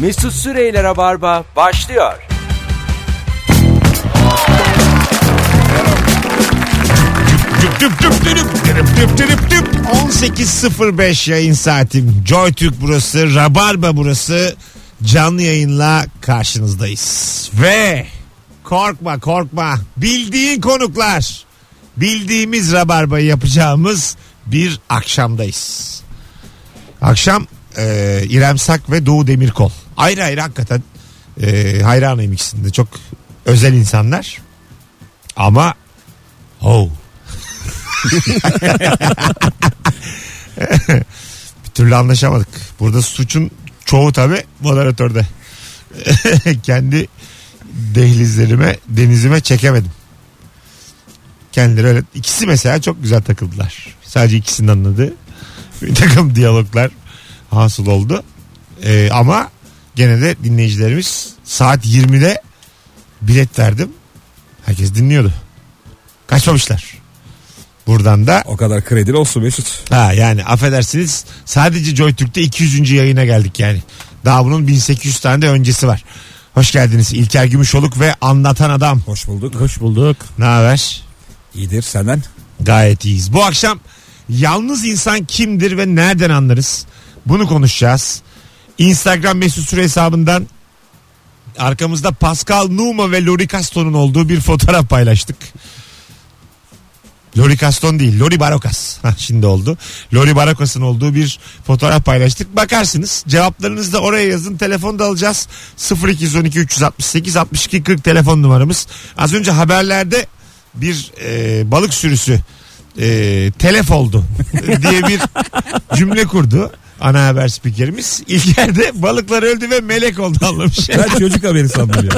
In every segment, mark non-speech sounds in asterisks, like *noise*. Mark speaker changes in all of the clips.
Speaker 1: Mesut Süreyler'e barba başlıyor.
Speaker 2: Düp düp düp dürüp dürüp düp dürüp düp. 18.05 yayın saatim. Joy Türk burası, Rabarba burası. Canlı yayınla karşınızdayız. Ve korkma korkma bildiğin konuklar. Bildiğimiz Rabarba'yı yapacağımız bir akşamdayız. Akşam e, İrem Sak ve Doğu Demirkol. Ayrı ayrı hakikaten e, hayranıyım ikisinde. Çok özel insanlar. Ama oh. bir türlü anlaşamadık. Burada suçun çoğu tabi moderatörde. *laughs* Kendi dehlizlerime, denizime çekemedim. Kendileri öyle. ikisi mesela çok güzel takıldılar. Sadece ikisinin anladığı bir *laughs* takım diyaloglar hasıl oldu. Ee, ama gene de dinleyicilerimiz saat 20'de bilet verdim. Herkes dinliyordu. Kaçmamışlar. Buradan da
Speaker 3: O kadar kredili olsun Mesut.
Speaker 2: ha yani affedersiniz sadece JoyTürk'te 200. yayına geldik yani. Daha bunun 1800 tane de öncesi var. Hoş geldiniz İlker Gümüşoluk ve Anlatan Adam.
Speaker 3: Hoş bulduk.
Speaker 4: Hoş bulduk.
Speaker 2: Ne haber?
Speaker 3: İyidir senden.
Speaker 2: Gayet iyiyiz. Bu akşam yalnız insan kimdir ve nereden anlarız? Bunu konuşacağız. Instagram mesut süre hesabından arkamızda Pascal Numa ve Lori Caston'un olduğu bir fotoğraf paylaştık. Lori Caston değil, Lori Barokas. Ha, şimdi oldu. Lori Barokas'ın olduğu bir fotoğraf paylaştık. Bakarsınız. Cevaplarınızı da oraya yazın. Telefon da alacağız. 0212 368 62 40 telefon numaramız. Az önce haberlerde bir e, balık sürüsü e, telef oldu *laughs* diye bir cümle kurdu. Ana haber spikerimiz. İlker de balıklar öldü ve melek oldu
Speaker 3: *laughs*
Speaker 2: anlamış.
Speaker 3: Ben çocuk haberi sandım ya.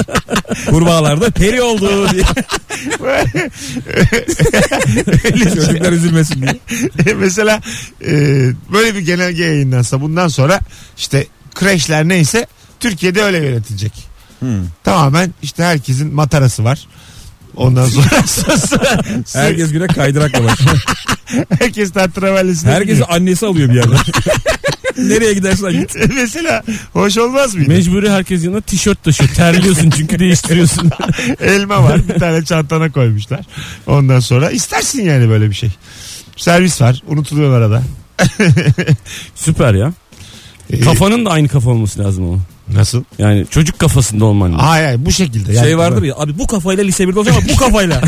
Speaker 3: Kurbağalarda peri oldu diye. *laughs* Çocuklar üzülmesin diye.
Speaker 2: *laughs* Mesela e, böyle bir genelge yayınlansa bundan sonra işte kreşler neyse Türkiye'de öyle yönetilecek.
Speaker 3: Hmm.
Speaker 2: Tamamen işte herkesin matarası var. Ondan
Speaker 3: *laughs*
Speaker 2: sonra herkes
Speaker 3: Herkes güne kaydırakla başlıyor.
Speaker 2: herkes tartravellesine
Speaker 4: *laughs*
Speaker 3: Herkes annesi alıyor bir yerden. *laughs* Nereye gidersen git.
Speaker 2: gidiyor. *laughs* mesela hoş olmaz mıydı?
Speaker 4: Mecburi herkes yanına tişört taşıyor. Terliyorsun
Speaker 3: *laughs*
Speaker 4: çünkü değiştiriyorsun.
Speaker 2: *laughs* Elma var bir tane çantana koymuşlar. Ondan sonra istersin yani böyle bir şey. Servis var unutuluyor arada.
Speaker 4: Süper ya.
Speaker 2: Ee,
Speaker 4: Kafanın da aynı kafa olması lazım ama.
Speaker 2: Nasıl?
Speaker 4: Yani çocuk kafasında olman lazım.
Speaker 2: Hayır hayır bu şekilde. Yani
Speaker 3: şey vardır ya abi bu kafayla lise 1'de olacağım ama bu
Speaker 4: *laughs*
Speaker 3: kafayla.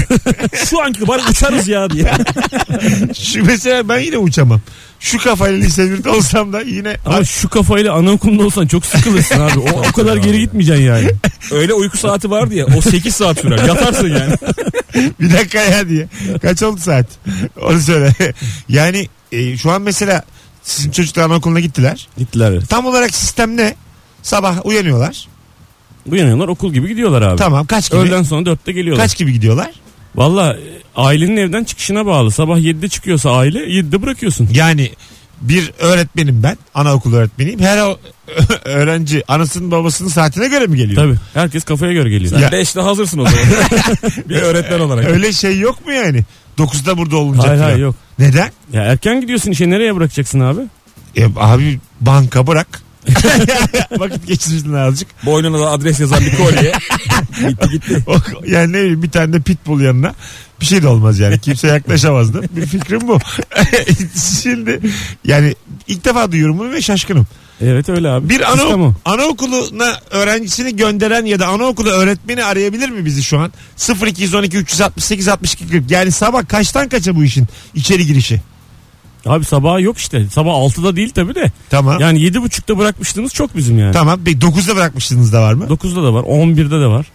Speaker 3: Şu anki bari uçarız ya diye.
Speaker 2: Şu mesela ben yine uçamam. Şu kafayla lise 1'de olsam da yine
Speaker 4: Ama şu kafayla anaokulunda olsan çok sıkılırsın abi. O, o kadar geri gitmeyeceksin yani.
Speaker 3: Öyle uyku saati vardı ya o 8 saat sürer. Yatarsın yani.
Speaker 2: *laughs* bir dakika ya diye. Kaç oldu saat? Onu söyle. *laughs* Yani e, şu an mesela sizin çocuklar anaokuluna gittiler.
Speaker 4: Gittiler. evet.
Speaker 2: Tam olarak sistem ne? Sabah uyanıyorlar.
Speaker 4: Uyanıyorlar okul gibi gidiyorlar abi.
Speaker 2: Tamam kaç gibi?
Speaker 4: Öğleden sonra dörtte geliyorlar.
Speaker 2: Kaç gibi gidiyorlar?
Speaker 4: Valla e, ailenin evden çıkışına bağlı. Sabah 7'de çıkıyorsa aile 7'de bırakıyorsun.
Speaker 2: Yani bir öğretmenim ben. Anaokulu öğretmeniyim. Her o- *laughs* öğrenci anasının babasının saatine göre mi geliyor?
Speaker 4: Tabii. Herkes kafaya göre geliyor.
Speaker 2: Ya-
Speaker 3: 5'te hazırsın o
Speaker 4: *laughs*
Speaker 3: zaman. bir öğretmen olarak.
Speaker 2: Öyle şey yok mu yani? 9'da burada olunacak.
Speaker 4: Hayır
Speaker 2: falan.
Speaker 4: hayır yok.
Speaker 2: Neden?
Speaker 4: Ya erken gidiyorsun işe nereye bırakacaksın abi?
Speaker 2: E, abi banka
Speaker 4: *laughs*
Speaker 2: bırak. *laughs* Vakit geçirsin azıcık.
Speaker 3: Boynuna da adres yazan bir *laughs* kolye. gitti gitti.
Speaker 2: O- yani ne bileyim bir tane de pitbull yanına bir şey de olmaz yani. Kimse yaklaşamazdı. Bir fikrim bu. *laughs* Şimdi yani ilk defa duyuyorum bunu ve şaşkınım.
Speaker 4: Evet öyle abi.
Speaker 2: Bir
Speaker 4: Sistem
Speaker 2: ana,
Speaker 4: o.
Speaker 2: anaokuluna öğrencisini gönderen ya da anaokulu öğretmeni arayabilir mi bizi şu an? 0212 368 62 40. Yani sabah kaçtan kaça bu işin içeri girişi?
Speaker 4: Abi sabah yok işte. Sabah 6'da değil tabi de.
Speaker 2: Tamam.
Speaker 4: Yani 7.30'da bırakmıştınız çok bizim yani.
Speaker 2: Tamam. Bir 9'da bırakmışsınız da var mı?
Speaker 4: 9'da da var, 11'de de var.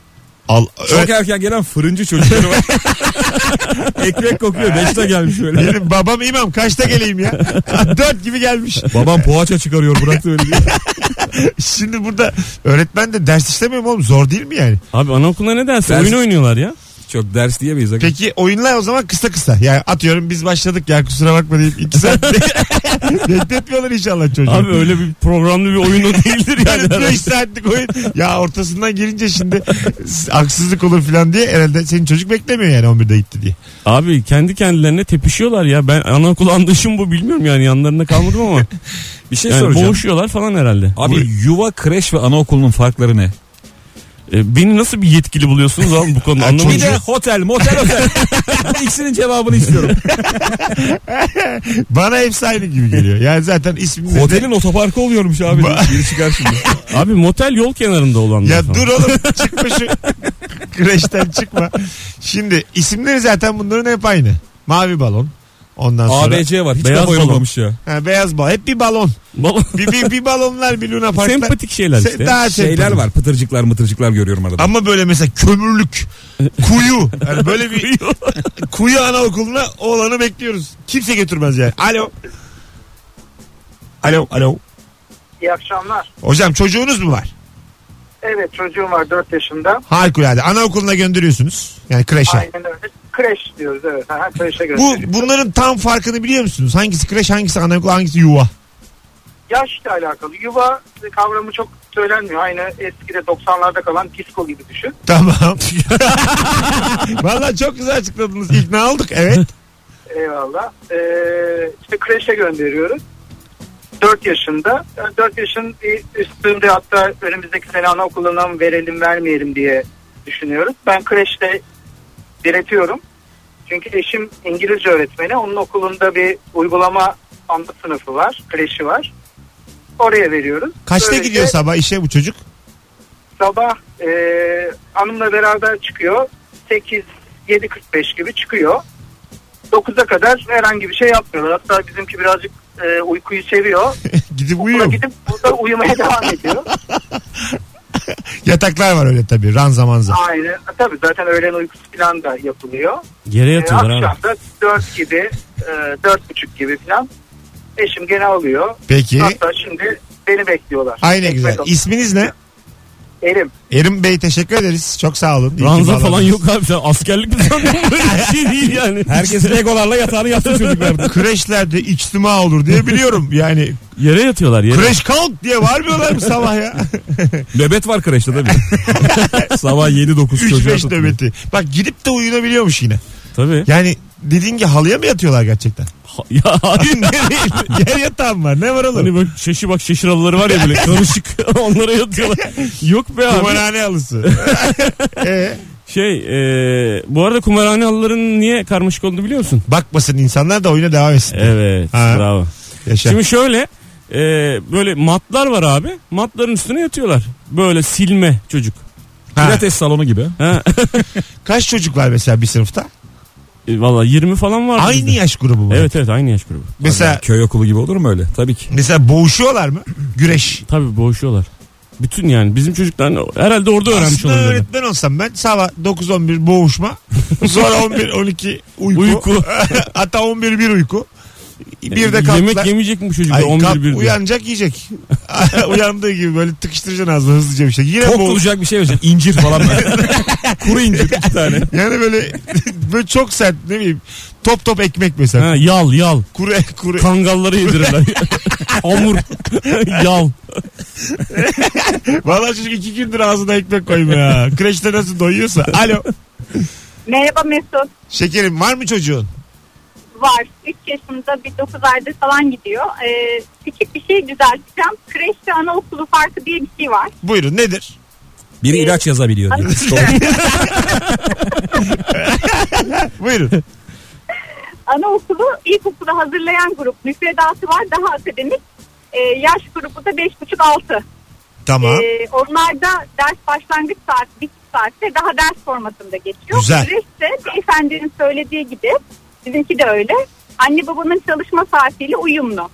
Speaker 2: Al,
Speaker 3: Çok erken gelen fırıncı çocukları var. Ekmek kokuyor.
Speaker 4: *laughs*
Speaker 3: 5'te gelmiş böyle.
Speaker 2: Benim babam imam kaçta geleyim ya? 4 gibi gelmiş.
Speaker 3: Babam poğaça çıkarıyor bıraktı öyle diye.
Speaker 2: Şimdi burada öğretmen de ders işlemiyor mu oğlum? Zor değil mi yani?
Speaker 4: Abi anaokulunda ne dersin?
Speaker 3: Ders-
Speaker 4: Oyun oynuyorlar ya.
Speaker 3: Çok ders diyemeyiz. hakikaten.
Speaker 2: Peki oyunlar o zaman kısa kısa. Yani atıyorum biz başladık ya kusura bakma deyip iki saat *laughs* bekletmiyorlar inşallah çocuğu.
Speaker 4: Abi öyle bir programlı bir oyun o değildir yani.
Speaker 2: Yani 5 saatlik oyun. Ya ortasından girince şimdi haksızlık olur falan diye herhalde senin çocuk beklemiyor yani 11'de gitti diye.
Speaker 4: Abi kendi kendilerine tepişiyorlar ya. Ben anaokul andaşım bu bilmiyorum yani yanlarında kalmadım
Speaker 3: *laughs*
Speaker 4: ama.
Speaker 3: Bir şey
Speaker 4: Yani
Speaker 3: soracağım.
Speaker 4: boğuşuyorlar falan herhalde.
Speaker 3: Abi yuva, kreş ve anaokulunun farkları ne?
Speaker 4: E, beni nasıl bir yetkili buluyorsunuz abi bu konuda
Speaker 3: *laughs*
Speaker 4: anlamadım.
Speaker 3: Bir de hotel, *laughs* motel, otel. Bu İkisinin cevabını
Speaker 4: *laughs*
Speaker 3: istiyorum.
Speaker 2: Bana hepsi aynı gibi geliyor. Yani zaten isminde de-
Speaker 3: Otelin otoparkı oluyormuş abi. Biri çıkar şimdi.
Speaker 4: *laughs* Abi motel yol kenarında olanlar
Speaker 2: Ya
Speaker 4: falan.
Speaker 2: dur oğlum çıkma şu kreşten çıkma. Şimdi isimleri zaten bunların hep aynı. Mavi balon. Ondan sonra
Speaker 3: ABC var. Hiç
Speaker 4: Beyaz
Speaker 3: kafa
Speaker 4: balon.
Speaker 3: yorulmamış ya.
Speaker 2: ha, beyaz balon. Hep bir balon.
Speaker 4: Baba-
Speaker 2: Bir, bir, bir balonlar bir luna parklar.
Speaker 4: Sempatik şeyler
Speaker 2: Se-
Speaker 4: işte. Şey,
Speaker 2: Daha
Speaker 3: Şeyler
Speaker 2: sempatik.
Speaker 3: var. Pıtırcıklar mıtırcıklar görüyorum arada.
Speaker 2: Ama böyle mesela kömürlük, kuyu. Yani böyle bir kuyu anaokuluna oğlanı bekliyoruz. Kimse götürmez yani. Alo. Alo, alo.
Speaker 5: İyi akşamlar.
Speaker 2: Hocam çocuğunuz mu var?
Speaker 5: Evet çocuğum var 4 yaşında.
Speaker 2: Harikulade. Anaokuluna gönderiyorsunuz. Yani kreşe.
Speaker 5: Aynen öyle. Kreş diyoruz evet. Aha, kreşe
Speaker 2: Bu
Speaker 5: gönderiyoruz.
Speaker 2: bunların tam farkını biliyor musunuz? Hangisi kreş, hangisi anaokul, hangisi yuva?
Speaker 5: Yaşla alakalı. Yuva kavramı çok söylenmiyor. Aynı eskide 90'larda kalan disco gibi düşün.
Speaker 2: Tamam. Valla çok güzel açıkladınız. İkna olduk. Evet.
Speaker 5: Eyvallah. Ee, işte kreşe gönderiyoruz. 4 yaşında. 4 yaşın bir üstünde hatta önümüzdeki sene anaokuluna mı verelim vermeyelim diye düşünüyoruz. Ben kreşte diretiyorum. Çünkü eşim İngilizce öğretmeni. Onun okulunda bir uygulama anlı sınıfı var. Kreşi var. Oraya veriyoruz.
Speaker 2: Kaçta
Speaker 5: Böylece
Speaker 2: gidiyor sabah işe bu çocuk? *laughs*
Speaker 5: Sabah e, hanımla beraber çıkıyor. 8 7.45 gibi çıkıyor. 9'a kadar herhangi bir şey yapmıyorlar. Hatta bizimki birazcık e,
Speaker 2: *laughs*
Speaker 5: uykuyu seviyor.
Speaker 2: Gidip
Speaker 5: Buna
Speaker 2: uyuyor. mu?
Speaker 5: gidip burada uyumaya *laughs* devam ediyor.
Speaker 2: Yataklar var öyle tabii. Ranza manza.
Speaker 5: Aynen. E, Tabii zaten öğlen uykusu falan da yapılıyor.
Speaker 4: Yere
Speaker 5: E,
Speaker 4: yatıyorlar abi.
Speaker 5: akşam da 4 gibi, e, 4.30 gibi falan eşim gene alıyor.
Speaker 2: Peki.
Speaker 5: Hatta şimdi beni bekliyorlar.
Speaker 2: Aynı
Speaker 5: Ekmek
Speaker 2: güzel.
Speaker 5: alıp-
Speaker 2: İsminiz ne?
Speaker 5: Erim.
Speaker 2: Erim Bey teşekkür ederiz. Çok sağ olun. İyi ki
Speaker 4: Ranza
Speaker 2: bağladınız.
Speaker 4: falan yok abi sen askerlik mi sandın? Böyle bir şey değil yani.
Speaker 3: Herkes legolarla yatağını yaptı
Speaker 2: *laughs*
Speaker 3: çocuklarda.
Speaker 2: Kreşlerde içtima olur diye biliyorum. Yani
Speaker 4: Yere yatıyorlar yere.
Speaker 2: kreş kalk diye varmıyorlar mı sabah ya?
Speaker 3: Nöbet var kreşte tabii. Sabah
Speaker 2: *laughs*
Speaker 3: 7-9 çocuğa
Speaker 2: 3-5
Speaker 3: tutmuyor.
Speaker 2: nöbeti. Bak gidip de uyunabiliyormuş yine.
Speaker 4: Tabii.
Speaker 2: Yani dediğin gibi halıya mı yatıyorlar
Speaker 4: *laughs*
Speaker 2: gerçekten?
Speaker 4: Ha- Ya hayır.
Speaker 2: Yer yatağım var. Ne var oğlum?
Speaker 4: Hani böyle şaşı bak şaşıralıları
Speaker 2: *laughs*
Speaker 4: var ya böyle karışık *laughs* onlara yatıyorlar. Yok be abi.
Speaker 2: Kumarhane halısı. *laughs* Ee,
Speaker 4: Şey e, bu arada kumarhane halılarının niye karmaşık olduğunu biliyor musun?
Speaker 2: bakmasın insanlar da oyuna devam etsin.
Speaker 4: Evet
Speaker 2: Ha. Şey.
Speaker 4: bravo.
Speaker 2: Yaşa.
Speaker 4: Şimdi şöyle e, böyle matlar var abi. Matların üstüne yatıyorlar. Böyle silme çocuk.
Speaker 2: Ha.
Speaker 3: Pilates salonu gibi.
Speaker 4: Ha.
Speaker 2: Kaç çocuk var mesela bir sınıfta?
Speaker 4: E, Valla 20 falan var.
Speaker 2: Aynı
Speaker 4: bizde.
Speaker 2: yaş grubu mu?
Speaker 4: Evet evet aynı yaş grubu.
Speaker 2: Mesela
Speaker 3: Köy okulu gibi olur mu öyle? Tabii ki.
Speaker 2: mesela boğuşuyorlar
Speaker 4: *clears throat*
Speaker 2: mı? Güreş.
Speaker 4: Tabii boğuşuyorlar. Bütün yani bizim çocuklar herhalde orada öğrenmiş
Speaker 2: Aslında
Speaker 4: olurlar.
Speaker 2: öğretmen olsam ben sabah 9-11 boğuşma. *laughs* Sonra 11-12 uyku.
Speaker 4: Uyku.
Speaker 2: *laughs* Hatta 11-1 uyku. Bir de kalktılar.
Speaker 4: Yemek yemeyecek mi bu çocuk?
Speaker 2: Ay,
Speaker 4: 11
Speaker 2: kalk,
Speaker 4: 1
Speaker 2: uyanacak yiyecek. *laughs* Uyandığı gibi böyle tıkıştıracaksın ağzına hızlıca bir şey. Yine
Speaker 3: Çok
Speaker 2: boğuş.
Speaker 3: olacak bir şey vereceksin. İncir falan. Kuru incir iki tane.
Speaker 4: şey.
Speaker 2: Yani böyle, *laughs* böyle çok sert ne bileyim. Top top ekmek mesela.
Speaker 4: Ha, yal yal.
Speaker 2: Kuru kuru.
Speaker 4: Kangalları yedirirler. *laughs* Hamur. *laughs* yal.
Speaker 2: Vallahi çocuk iki gündür ağzına ekmek koymuyor ya. Kreşte nasıl doyuyorsa. Alo.
Speaker 6: Merhaba Mesut.
Speaker 2: Şekerim var mı çocuğun?
Speaker 6: Var. 3 yaşında bir 9 aydır falan gidiyor. Ee, küçük bir şey düzelteceğim. Kreş ve anaokulu farkı diye bir şey var.
Speaker 2: Buyurun nedir?
Speaker 3: Biri ilaç yazabiliyor diyor.
Speaker 4: *laughs*
Speaker 2: Buyurun.
Speaker 6: Anaokulu ilkokula hazırlayan grup. Müfredatı var. Daha akademik. Ee, yaş grubu da 5,5-6.
Speaker 2: Tamam.
Speaker 6: Ee, onlar da ders başlangıç saati, bitiş saati daha ders formatında geçiyor.
Speaker 2: Güzel.
Speaker 6: Kreş de beyefendinin söylediği gibi bizimki de öyle. Anne babanın çalışma saatiyle uyumlu.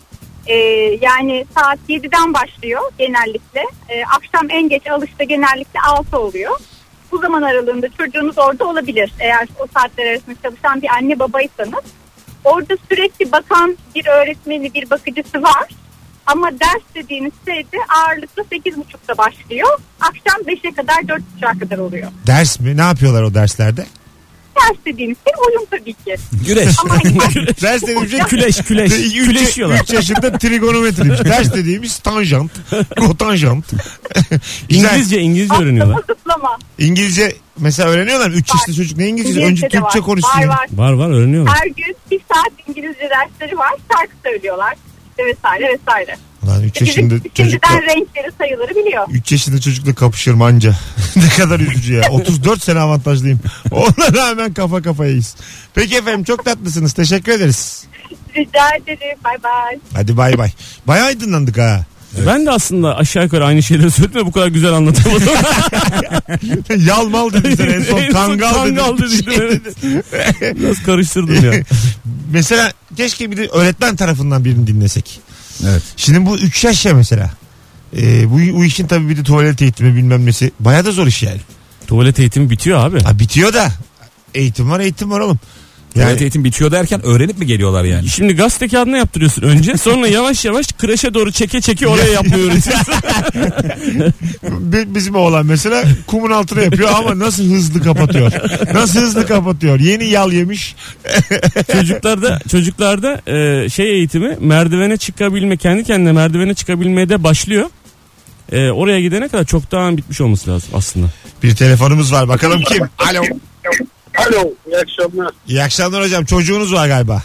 Speaker 6: Ee, yani saat 7'den başlıyor genellikle. Ee, akşam en geç alışta genellikle 6 oluyor. Bu zaman aralığında çocuğunuz orada olabilir. Eğer o saatler arasında çalışan bir anne babaysanız. Orada sürekli bakan bir öğretmeni, bir bakıcısı var. Ama ders dediğiniz şey de ağırlıklı 8.30'da başlıyor. Akşam 5'e kadar 4.30'a kadar oluyor.
Speaker 2: Ders mi? Ne yapıyorlar o derslerde?
Speaker 6: ters dediğimiz şey uyum tabii ki.
Speaker 3: *laughs* Güreş.
Speaker 6: Ama hani
Speaker 2: Ters dediğim şey
Speaker 4: Küleş küleş. Küleşiyorlar.
Speaker 2: 3 yaşında trigonometriymiş. Ters dediğimiz tanjant. Kotanjant. Güzel.
Speaker 4: İngilizce İngilizce öğreniyorlar.
Speaker 6: zıplama.
Speaker 2: İngilizce mesela öğreniyorlar. 3 yaşında çocuk ne İngilizce? Önce
Speaker 6: İngilizce de
Speaker 2: Türkçe
Speaker 6: var.
Speaker 2: konuşsun.
Speaker 6: Var
Speaker 2: ya.
Speaker 6: var.
Speaker 4: Var var öğreniyorlar.
Speaker 6: Her gün bir saat İngilizce dersleri var. Şarkı söylüyorlar. İşte vesaire vesaire.
Speaker 2: Lan 3
Speaker 6: Bizim
Speaker 2: yaşında çocukla
Speaker 6: şimdiden renkleri sayıları biliyor.
Speaker 2: 3 yaşında çocukla kapışırım anca. *laughs* ne kadar üzücü ya. 34 sene avantajlıyım. Ona rağmen kafa kafayayız. Peki efendim çok tatlısınız. Teşekkür ederiz.
Speaker 6: Rica ederim. Bay bay.
Speaker 2: Hadi bay bay. Bayağı aydınlandık ha.
Speaker 4: Ben de aslında aşağı yukarı aynı şeyleri söyledim de bu kadar güzel *laughs* anlatamadım.
Speaker 2: Yalmal dedin sen en son kangal dedin.
Speaker 4: dedin. *laughs* Biraz karıştırdım ya.
Speaker 2: Mesela keşke bir de öğretmen tarafından birini dinlesek.
Speaker 3: Evet.
Speaker 2: Şimdi bu 3 yaş ya mesela. Ee, bu, bu işin tabii bir de tuvalet eğitimi bilmem nesi. Bayağı da zor iş yani.
Speaker 4: Tuvalet eğitimi bitiyor abi.
Speaker 2: Ha, bitiyor da eğitim var eğitim var oğlum. Yani
Speaker 3: Evet eğitim bitiyor derken öğrenip mi geliyorlar yani?
Speaker 4: Şimdi gazete kağıdına yaptırıyorsun önce. Sonra yavaş yavaş kreşe doğru çeke çeke oraya yapmayı *laughs* öğretiyorsun.
Speaker 2: bi- bizim oğlan mesela kumun altına yapıyor ama nasıl hızlı kapatıyor. Nasıl hızlı kapatıyor. Yeni yal yemiş.
Speaker 3: *laughs*
Speaker 4: çocuklarda çocuklarda e, şey eğitimi merdivene çıkabilme kendi kendine merdivene çıkabilmeye de başlıyor. E, oraya gidene kadar çoktan bitmiş olması lazım aslında.
Speaker 2: Bir telefonumuz var bakalım kim? Alo.
Speaker 5: Alo iyi akşamlar.
Speaker 2: İyi akşamlar hocam çocuğunuz var galiba.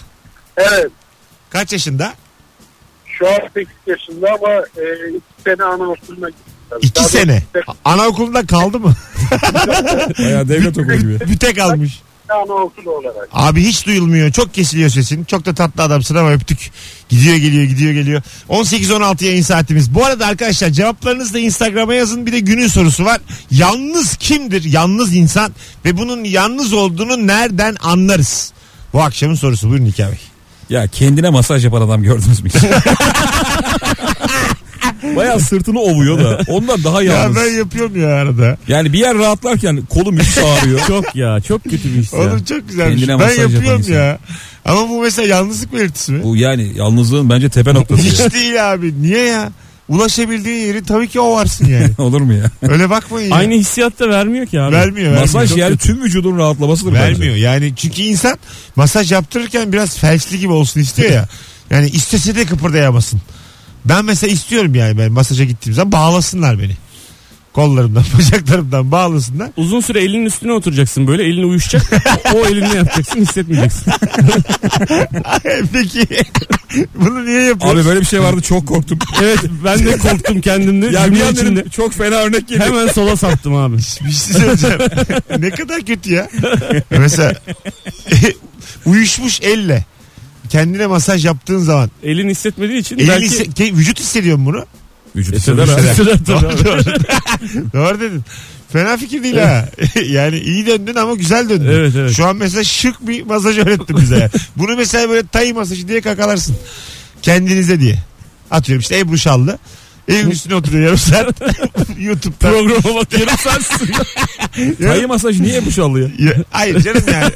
Speaker 5: Evet
Speaker 2: Kaç yaşında?
Speaker 5: şu an 8 yaşında ama e, 2 sene anaokuluna gittim.
Speaker 2: 2
Speaker 5: Daha
Speaker 2: sene.
Speaker 5: doğrusu
Speaker 2: Anaokulunda kaldı mı? *laughs*
Speaker 3: Bayağı devlet okulu gibi.
Speaker 2: Büte kalmış.
Speaker 5: Anaokulu olarak.
Speaker 2: Abi hiç duyulmuyor. Çok kesiliyor sesin. Çok da tatlı adamsın ama öptük. Gidiyor geliyor gidiyor geliyor. 18-16 yayın saatimiz. Bu arada arkadaşlar cevaplarınızı da Instagram'a yazın. Bir de günün sorusu var. Yalnız kimdir? Yalnız insan. Ve bunun yalnız olduğunu nereden anlarız? Bu akşamın sorusu. Buyurun Hikâ Bey.
Speaker 3: Ya kendine masaj yapan adam gördünüz mü?
Speaker 2: *laughs*
Speaker 3: Bayağı sırtını ovuyor da. Ondan daha
Speaker 2: Ya
Speaker 3: yalnız.
Speaker 2: ben yapıyorum ya arada.
Speaker 3: Yani bir yer rahatlarken kolum hiç ağrıyor.
Speaker 4: Çok ya çok kötü bir his ya.
Speaker 2: Oğlum çok güzelmiş.
Speaker 3: Kendine
Speaker 2: Ben
Speaker 3: masaj yapan
Speaker 2: yapıyorum
Speaker 3: insan.
Speaker 2: ya. Ama bu mesela yalnızlık belirtisi mi?
Speaker 3: Bu yani yalnızlığın bence tepe noktası.
Speaker 2: *laughs*
Speaker 3: ya.
Speaker 2: Hiç değil abi. Niye ya? Ulaşabildiğin yeri tabii ki o varsın *laughs* yani.
Speaker 3: Olur mu ya?
Speaker 2: Öyle bakmayın ya.
Speaker 4: Aynı hissiyat da vermiyor ki abi.
Speaker 2: Vermiyor. vermiyor.
Speaker 3: Masaj yani tüm vücudun rahatlamasıdır
Speaker 2: Vermiyor. Yani çünkü insan masaj yaptırırken biraz felçli gibi olsun istiyor
Speaker 4: *laughs*
Speaker 2: ya. Yani istese de kıpırdayamasın. Ben mesela istiyorum yani ben masaja gittiğim zaman bağlasınlar beni. Kollarımdan, *laughs* bacaklarımdan bağlasınlar.
Speaker 4: Uzun süre elinin üstüne oturacaksın böyle
Speaker 3: *laughs*
Speaker 4: elini uyuşacak. o elinle yapacaksın hissetmeyeceksin.
Speaker 2: E Peki *laughs* bunu niye
Speaker 3: bence.
Speaker 2: yapıyorsun?
Speaker 3: Abi böyle bir şey vardı çok korktum.
Speaker 4: Evet ben de korktum kendimde.
Speaker 3: ya bir
Speaker 4: Cümle
Speaker 3: an
Speaker 4: içinde.
Speaker 3: dedim, çok fena örnek geliyor.
Speaker 4: Hemen sola saptım abi.
Speaker 2: Bir şey
Speaker 4: *laughs*
Speaker 2: söyleyeceğim. ne kadar kötü ya. E Mesela *laughs* uyuşmuş elle kendine masaj yaptığın zaman
Speaker 4: Elini hissetmediği için
Speaker 2: elin
Speaker 4: belki
Speaker 2: hisse- ke- vücut hissediyor mu bunu?
Speaker 3: Vücut şey-
Speaker 4: Hisseder
Speaker 3: hisseder
Speaker 4: abi.
Speaker 3: ha.
Speaker 4: Hisseder tabii
Speaker 2: *laughs*
Speaker 4: abi.
Speaker 2: Doğru dedin. Fena fikir değil ha. *laughs* yani iyi döndün ama güzel döndün.
Speaker 4: Evet, evet.
Speaker 2: Şu an mesela şık bir masaj öğrettin bize.
Speaker 4: *laughs*
Speaker 2: yani. Bunu mesela böyle tay masajı diye kakalarsın. Kendinize diye. Atıyorum işte Ebru Şallı. Evin üstüne oturuyor yarım
Speaker 4: *laughs*
Speaker 2: saat. *laughs* YouTube'da.
Speaker 4: Programa bak yarım saat
Speaker 3: *laughs*
Speaker 4: sürüyor.
Speaker 3: Tayı masajı niye yapmış alıyor?
Speaker 2: Ya- hayır canım yani.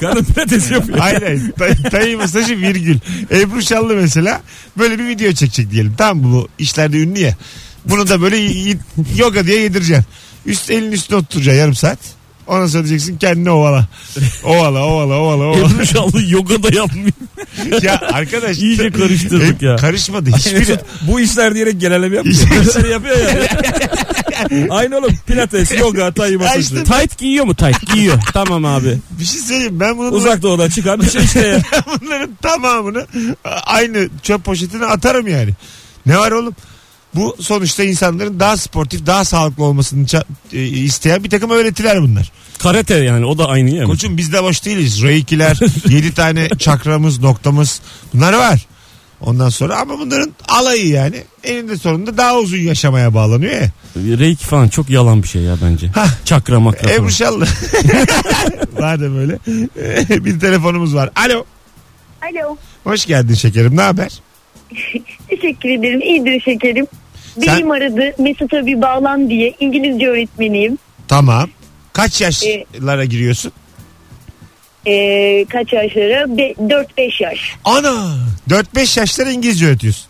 Speaker 3: Kadın pilates yapıyor. *laughs*
Speaker 2: *laughs* hayır hayır. Tay, tay masajı virgül. Ebru Şallı mesela böyle bir video çekecek diyelim. Tamam mı? bu işlerde ünlü ya. Bunu da böyle y- y- yoga diye yedireceksin. Üst elin üstüne oturacaksın yarım saat. Ona söyleyeceksin kendini ovala. Ovala ovala ovala ovala.
Speaker 4: Ebru Şallı yoga da
Speaker 3: *laughs*
Speaker 4: yapmıyor.
Speaker 2: ya arkadaş.
Speaker 4: İyice karıştırdık
Speaker 2: E,
Speaker 4: ya.
Speaker 2: Karışmadı hiçbiri.
Speaker 3: Mesut, bu işler diyerek genelleme *laughs* yapmıyor.
Speaker 2: İşte-
Speaker 3: Bu işleri yapıyor *laughs* ya. Aynı oğlum pilates, yoga, tay masajı.
Speaker 2: işte-
Speaker 4: Tight giyiyor mu tight? Giyiyor. tamam abi.
Speaker 2: Bir şey söyleyeyim ben bunun
Speaker 3: Uzak doğudan çıkan bir şey işte *laughs* ya.
Speaker 2: *laughs* bunların tamamını a- aynı çöp poşetine atarım yani. Ne var oğlum? Bu sonuçta insanların daha sportif, daha sağlıklı olmasını ça- e, isteyen bir takım öğretiler bunlar.
Speaker 4: Karate yani o da aynı yani.
Speaker 2: Koçum biz de boş değiliz. Reikiler, 7 tane çakramız, noktamız bunlar var. Ondan sonra ama bunların alayı yani eninde sonunda daha uzun yaşamaya bağlanıyor ya.
Speaker 4: Reiki falan çok yalan bir şey ya bence. Çakra makra falan.
Speaker 2: Ebru Şallı. *laughs* Madem öyle. e, bir telefonumuz var. Alo.
Speaker 6: Alo.
Speaker 2: Hoş geldin şekerim. Ne haber?
Speaker 7: Teşekkür ederim. İyidir şekerim.
Speaker 2: Sen-
Speaker 7: Benim aradı Mesut'a bir bağlan diye İngilizce öğretmeniyim.
Speaker 2: Tamam. Kaç yaşlara giriyorsun?
Speaker 7: Ee, kaç yaşlara? Be- 4-5 yaş.
Speaker 2: Ana. 4-5 yaşlara İngilizce öğretiyorsun.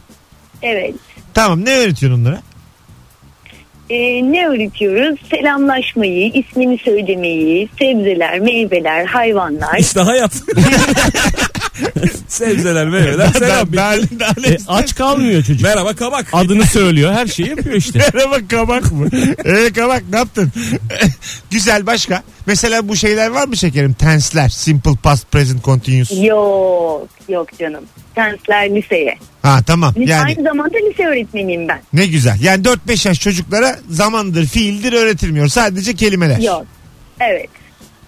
Speaker 7: Evet.
Speaker 2: Tamam ne öğretiyorsun onlara?
Speaker 7: e, ne öğretiyoruz? Selamlaşmayı, ismini söylemeyi, sebzeler, meyveler, hayvanlar.
Speaker 3: İşte hayat. Sebzeler meyveler selam.
Speaker 2: Ben, ben, ben- *laughs*
Speaker 4: E, aç kalmıyor çocuk.
Speaker 3: Merhaba kabak.
Speaker 4: Adını söylüyor her şeyi yapıyor işte.
Speaker 2: Merhaba kabak mı? Ee kabak ne yaptın? *laughs* Güzel başka. Mesela bu şeyler var mı şekerim? Tensler. Simple past present continuous.
Speaker 7: Yok, yok canım. Tensler liseye.
Speaker 2: Ha tamam.
Speaker 7: Lise-
Speaker 2: Yani
Speaker 7: Aynı zamanda lise öğretmeniyim ben.
Speaker 2: ne güzel. Yani 4-5 yaş çocuklara zamandır fiildir öğretilmiyor. Sadece kelimeler.
Speaker 7: Yok. Evet.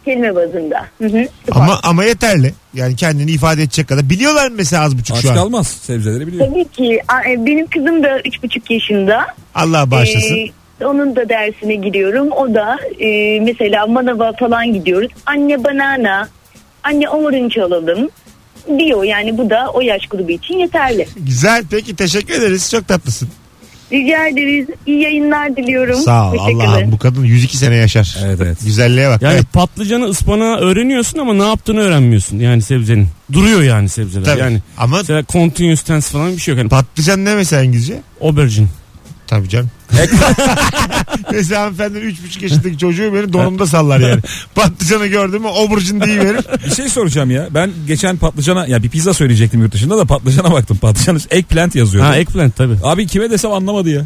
Speaker 7: Kelime bazında. Hı hı. süper.
Speaker 2: Ama ama yeterli. Yani kendini ifade edecek kadar. Biliyorlar mı mesela az buçuk
Speaker 3: Aç
Speaker 2: şu an?
Speaker 3: kalmaz. Sebzeleri biliyor.
Speaker 7: Tabii ki a- e, benim kızım da üç buçuk yaşında.
Speaker 2: Allah bağışlasın.
Speaker 7: Ee, onun da dersine giriyorum. O da e, mesela manava falan gidiyoruz. Anne banana, anne orange alalım diyor. Yani bu da o yaş grubu için yeterli.
Speaker 2: Güzel. Peki teşekkür ederiz. Çok tatlısın.
Speaker 7: Rica ederiz. İyi yayınlar diliyorum.
Speaker 2: Sağ ol.
Speaker 7: Teşekkürler.
Speaker 2: Allah'ım bu kadın 102 sene yaşar.
Speaker 3: Evet, evet.
Speaker 2: Güzelliğe bak.
Speaker 4: Yani
Speaker 2: Evet.
Speaker 4: patlıcanı ıspanağı öğreniyorsun ama ne yaptığını öğrenmiyorsun yani sebzenin. Duruyor yani sebzeler.
Speaker 2: Tabii.
Speaker 4: Yani
Speaker 2: Ama
Speaker 4: mesela continuous tense falan bir şey yok. Yani
Speaker 2: patlıcan ne mesela İngilizce?
Speaker 4: aubergine.
Speaker 2: Tabii canım. *laughs* Mesela hanımefendi 3,5 yaşındaki çocuğu benim donumda sallar yani. Patlıcanı gördün mü oburcun diye verir.
Speaker 3: Bir şey soracağım ya. Ben geçen patlıcana ya bir pizza söyleyecektim yurt dışında da patlıcana *laughs* baktım. Patlıcan eggplant yazıyor.
Speaker 4: Ha eggplant tabii.
Speaker 3: Abi kime desem anlamadı ya.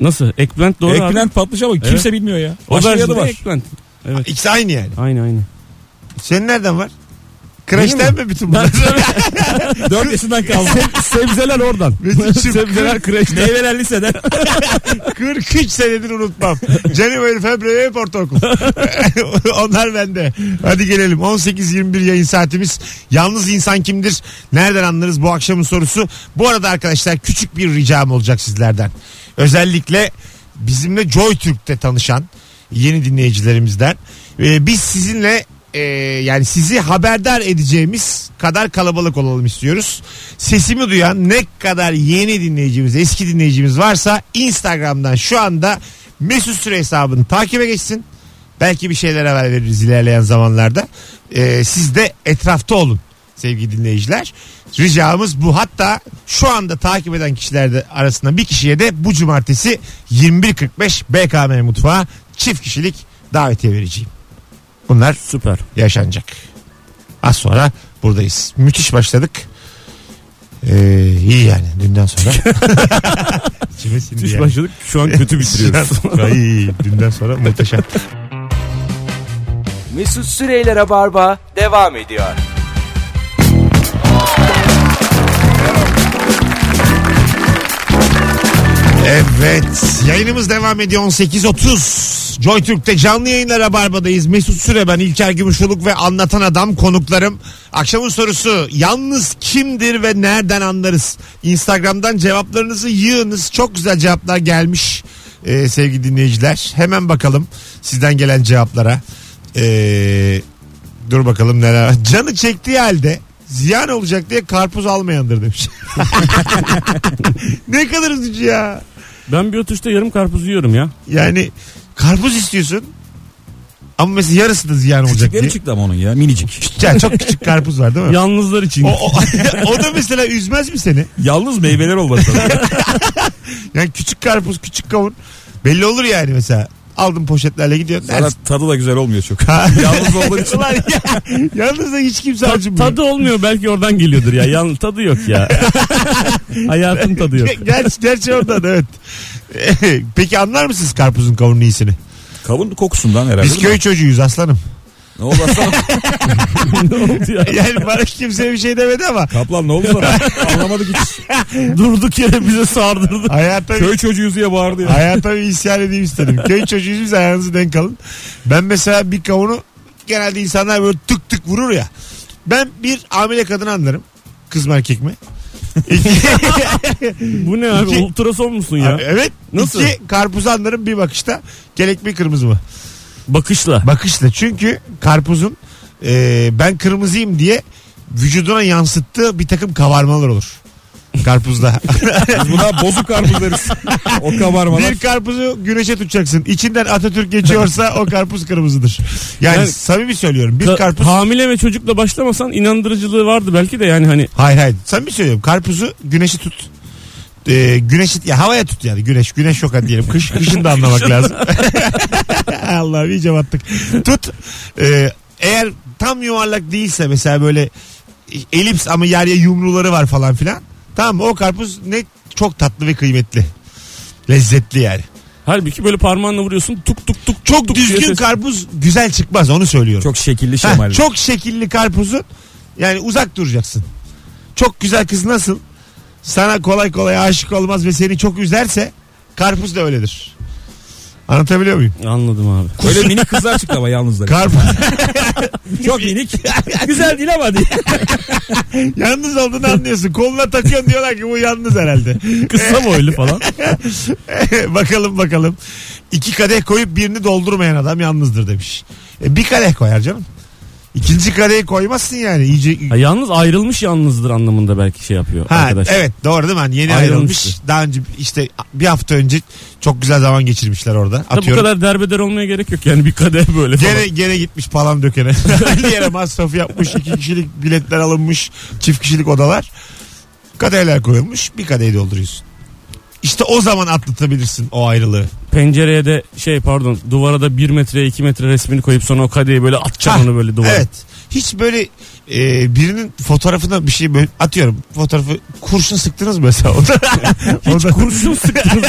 Speaker 4: Nasıl? Eggplant doğru abi.
Speaker 3: eggplant patlıcan ama kimse bilmiyor ya. Başka
Speaker 4: Aubergine
Speaker 3: adı
Speaker 2: *laughs*
Speaker 4: de
Speaker 3: var.
Speaker 4: eggplant. Evet.
Speaker 2: İkisi aynı yani.
Speaker 4: Aynı aynı.
Speaker 2: Senin nereden var? Kreşten mi bütün bunlar?
Speaker 3: Ben
Speaker 2: *laughs*
Speaker 3: 4 yaşından kaldı. sebzeler oradan.
Speaker 2: Mesut'cum,
Speaker 3: sebzeler kreşten. Meyveler liseden.
Speaker 2: 43 senedir unutmam. January, February hep ortaokul. *laughs* Onlar bende. Hadi gelelim. 18-21 yayın saatimiz. Yalnız insan kimdir? Nereden anlarız bu akşamın sorusu? Bu arada arkadaşlar küçük bir ricam olacak sizlerden. Özellikle bizimle Joy Türk'te tanışan yeni dinleyicilerimizden. Ee, biz sizinle e, yani sizi haberdar edeceğimiz kadar kalabalık olalım istiyoruz. Sesimi duyan ne kadar yeni dinleyicimiz, eski dinleyicimiz varsa Instagram'dan şu anda Mesut Süre hesabını takibe geçsin. Belki bir şeyler haber veririz ilerleyen zamanlarda. Ee, siz de etrafta olun sevgili dinleyiciler. Ricamız bu. Hatta şu anda takip eden kişiler de arasında bir kişiye de bu cumartesi 21.45 BKM Mutfağı çift kişilik davetiye vereceğim. Bunlar
Speaker 4: Süper.
Speaker 2: yaşanacak. Az sonra buradayız. Müthiş başladık. Ee, iyi yani dünden
Speaker 4: *laughs*
Speaker 2: sonra. İçime sindi
Speaker 4: Müthiş
Speaker 2: yani.
Speaker 4: başladık. Şu an kötü
Speaker 2: *laughs*
Speaker 4: bitiriyoruz.
Speaker 2: Ay, dünden sonra muhteşem.
Speaker 1: Mesut Süreyler'e barba devam ediyor.
Speaker 2: Evet yayınımız devam ediyor 18.30 Joy Türk'te canlı yayınlara Barbadayız Mesut Süre ben İlker Gümüşoluk ve Anlatan Adam konuklarım Akşamın sorusu yalnız kimdir ve nereden anlarız Instagram'dan cevaplarınızı yığınız çok güzel cevaplar gelmiş ee, sevgili dinleyiciler Hemen bakalım sizden gelen cevaplara Ee, Dur bakalım neler Canı çektiği halde ziyan olacak diye karpuz almayandır demiş *laughs* Ne kadar üzücü ya
Speaker 4: *laughs* ben bir oturuşta yarım karpuz yiyorum ya.
Speaker 2: Yani karpuz istiyorsun ama mesela yarısı da ziyan olacak diye.
Speaker 3: Küçükleri çıktı ama onun ya minicik.
Speaker 2: Ya çok küçük karpuz
Speaker 3: *laughs*
Speaker 2: var değil mi?
Speaker 4: Yalnızlar için.
Speaker 2: O, o, *laughs* o da mesela üzmez mi seni?
Speaker 3: Yalnız meyveler olmasa.
Speaker 2: Yani küçük karpuz, küçük kavun. Belli olur yani mesela. Aldın poşetlerle gidiyorsun. *laughs*
Speaker 3: Sana
Speaker 2: Dersin.
Speaker 3: tadı da güzel olmuyor çok.
Speaker 2: Ha.
Speaker 3: *laughs* Yalnız olduğun için.
Speaker 2: Ulan ya, yalnız da hiç kimse
Speaker 4: Ta-
Speaker 2: acımıyor.
Speaker 4: tadı olmuyor belki oradan geliyordur ya. Yalnız tadı yok ya. Hayatın tadı yok.
Speaker 2: Ger- Gerçi, gerçi oradan evet. *laughs* Peki anlar mısınız karpuzun kavunun iyisini?
Speaker 3: Kavun kokusundan herhalde.
Speaker 2: Biz
Speaker 3: değil mi?
Speaker 2: köy çocuğuyuz aslanım. *laughs*
Speaker 3: Ne oldu aslanım?
Speaker 4: ne oldu ya?
Speaker 2: Yani bana kimse bir şey demedi
Speaker 3: *laughs*
Speaker 2: ama
Speaker 3: Kaplan ne oldu sana? Anlamadık hiç.
Speaker 4: *laughs* Durduk yere bize sardırdı.
Speaker 2: hayata
Speaker 3: Köy çocuğuyuz diye bağırdı ya.
Speaker 2: Hayata bir isyan edeyim istedim. Köy çocuğuyuz biz ayağınızı denk alın. Ben mesela bir kavunu genelde insanlar böyle tık tık vurur ya. Ben bir hamile kadını anlarım. Kız mı erkek
Speaker 4: *laughs*
Speaker 2: mi? İki,
Speaker 4: Bu ne abi?
Speaker 2: İki-
Speaker 4: Ultrason musun ya?
Speaker 3: e-
Speaker 2: evet.
Speaker 4: Nasıl?
Speaker 2: İki karpuzu anlarım bir bakışta. Gerek mi kırmızı mı?
Speaker 4: Bakışla.
Speaker 2: Bakışla. Çünkü karpuzun e, ben kırmızıyım diye vücuduna yansıttığı bir takım kavarmalar olur. Karpuzda.
Speaker 3: Biz
Speaker 2: *laughs*
Speaker 3: buna bozuk karpuz deriz. O kabarmalar.
Speaker 2: Bir karpuzu güneşe tutacaksın. İçinden Atatürk geçiyorsa o karpuz kırmızıdır. Yani,
Speaker 4: Yani-
Speaker 2: samimi söylüyorum. Bir
Speaker 4: Ka-
Speaker 2: karpuz
Speaker 4: Hamile ve çocukla başlamasan inandırıcılığı vardı belki de yani hani
Speaker 2: şey Hayır hayır. Samimi söylüyorum. Karpuzu güneşe tut. e, güneşi ya havaya tut yani güneş güneş yok hadi diyelim kış kışın da anlamak lazım. *laughs* Allah iyice battık. Tut e, eğer tam yuvarlak değilse mesela böyle elips ama yer yer yumruları var falan filan. Tamam mı? o karpuz ne çok tatlı ve kıymetli. Lezzetli yani.
Speaker 4: Halbuki böyle parmağınla vuruyorsun tuk tuk tuk.
Speaker 2: Çok
Speaker 4: tuk tuk diye
Speaker 2: düzgün
Speaker 4: ses-
Speaker 2: karpuz güzel çıkmaz onu söylüyorum.
Speaker 3: Çok şekilli
Speaker 2: Ha,
Speaker 3: şemalı.
Speaker 2: çok şekilli karpuzun yani uzak duracaksın. Çok güzel kız nasıl sana kolay kolay aşık olmaz ve seni çok üzerse karpuz da öyledir. Anlatabiliyor muyum?
Speaker 4: Anladım abi.
Speaker 3: Öyle minik kızlar çıktı ama yalnızlar.
Speaker 2: Karpuz
Speaker 3: Çok
Speaker 4: *laughs*
Speaker 3: minik. Güzel değil ama *laughs* değil.
Speaker 2: yalnız olduğunu anlıyorsun. Koluna takıyorsun diyorlar ki bu yalnız herhalde. *laughs* E,
Speaker 4: Kısa boylu falan.
Speaker 2: bakalım bakalım. İki kadeh koyup birini doldurmayan adam yalnızdır demiş. E, bir kadeh koyar canım. İkinci kadehi koymazsın yani. İyice
Speaker 4: Ha, yalnız ayrılmış yalnızdır anlamında belki şey yapıyor
Speaker 2: Ha,
Speaker 3: e-
Speaker 4: arkadaş.
Speaker 2: evet doğru değil mi? Hani yeni
Speaker 4: Ayrılmıştı.
Speaker 2: ayrılmış. Daha önce işte bir hafta önce çok güzel zaman geçirmişler orada.
Speaker 4: Da bu
Speaker 2: Atıyorum.
Speaker 4: kadar derbeder olmaya gerek yok yani bir kadeh böyle falan.
Speaker 2: Gene, gene gitmiş palam dökene. *laughs* Her yere masrafı yapmış. iki kişilik biletler alınmış. Çift kişilik odalar. Kadehler koyulmuş. Bir kadehi dolduruyorsun. İşte o zaman atlatabilirsin o ayrılığı.
Speaker 4: Pencereye de şey pardon duvara da 1 metre 2 metre resmini koyup sonra o kadehi böyle atacaksın
Speaker 2: Ha,
Speaker 4: onu böyle duvara.
Speaker 2: Evet. Hiç böyle e, birinin fotoğrafına bir şey böyle atıyorum. Fotoğrafı kurşun sıktınız mı mesela? *laughs* Oda, Oda-
Speaker 4: Kurşun sıktınız.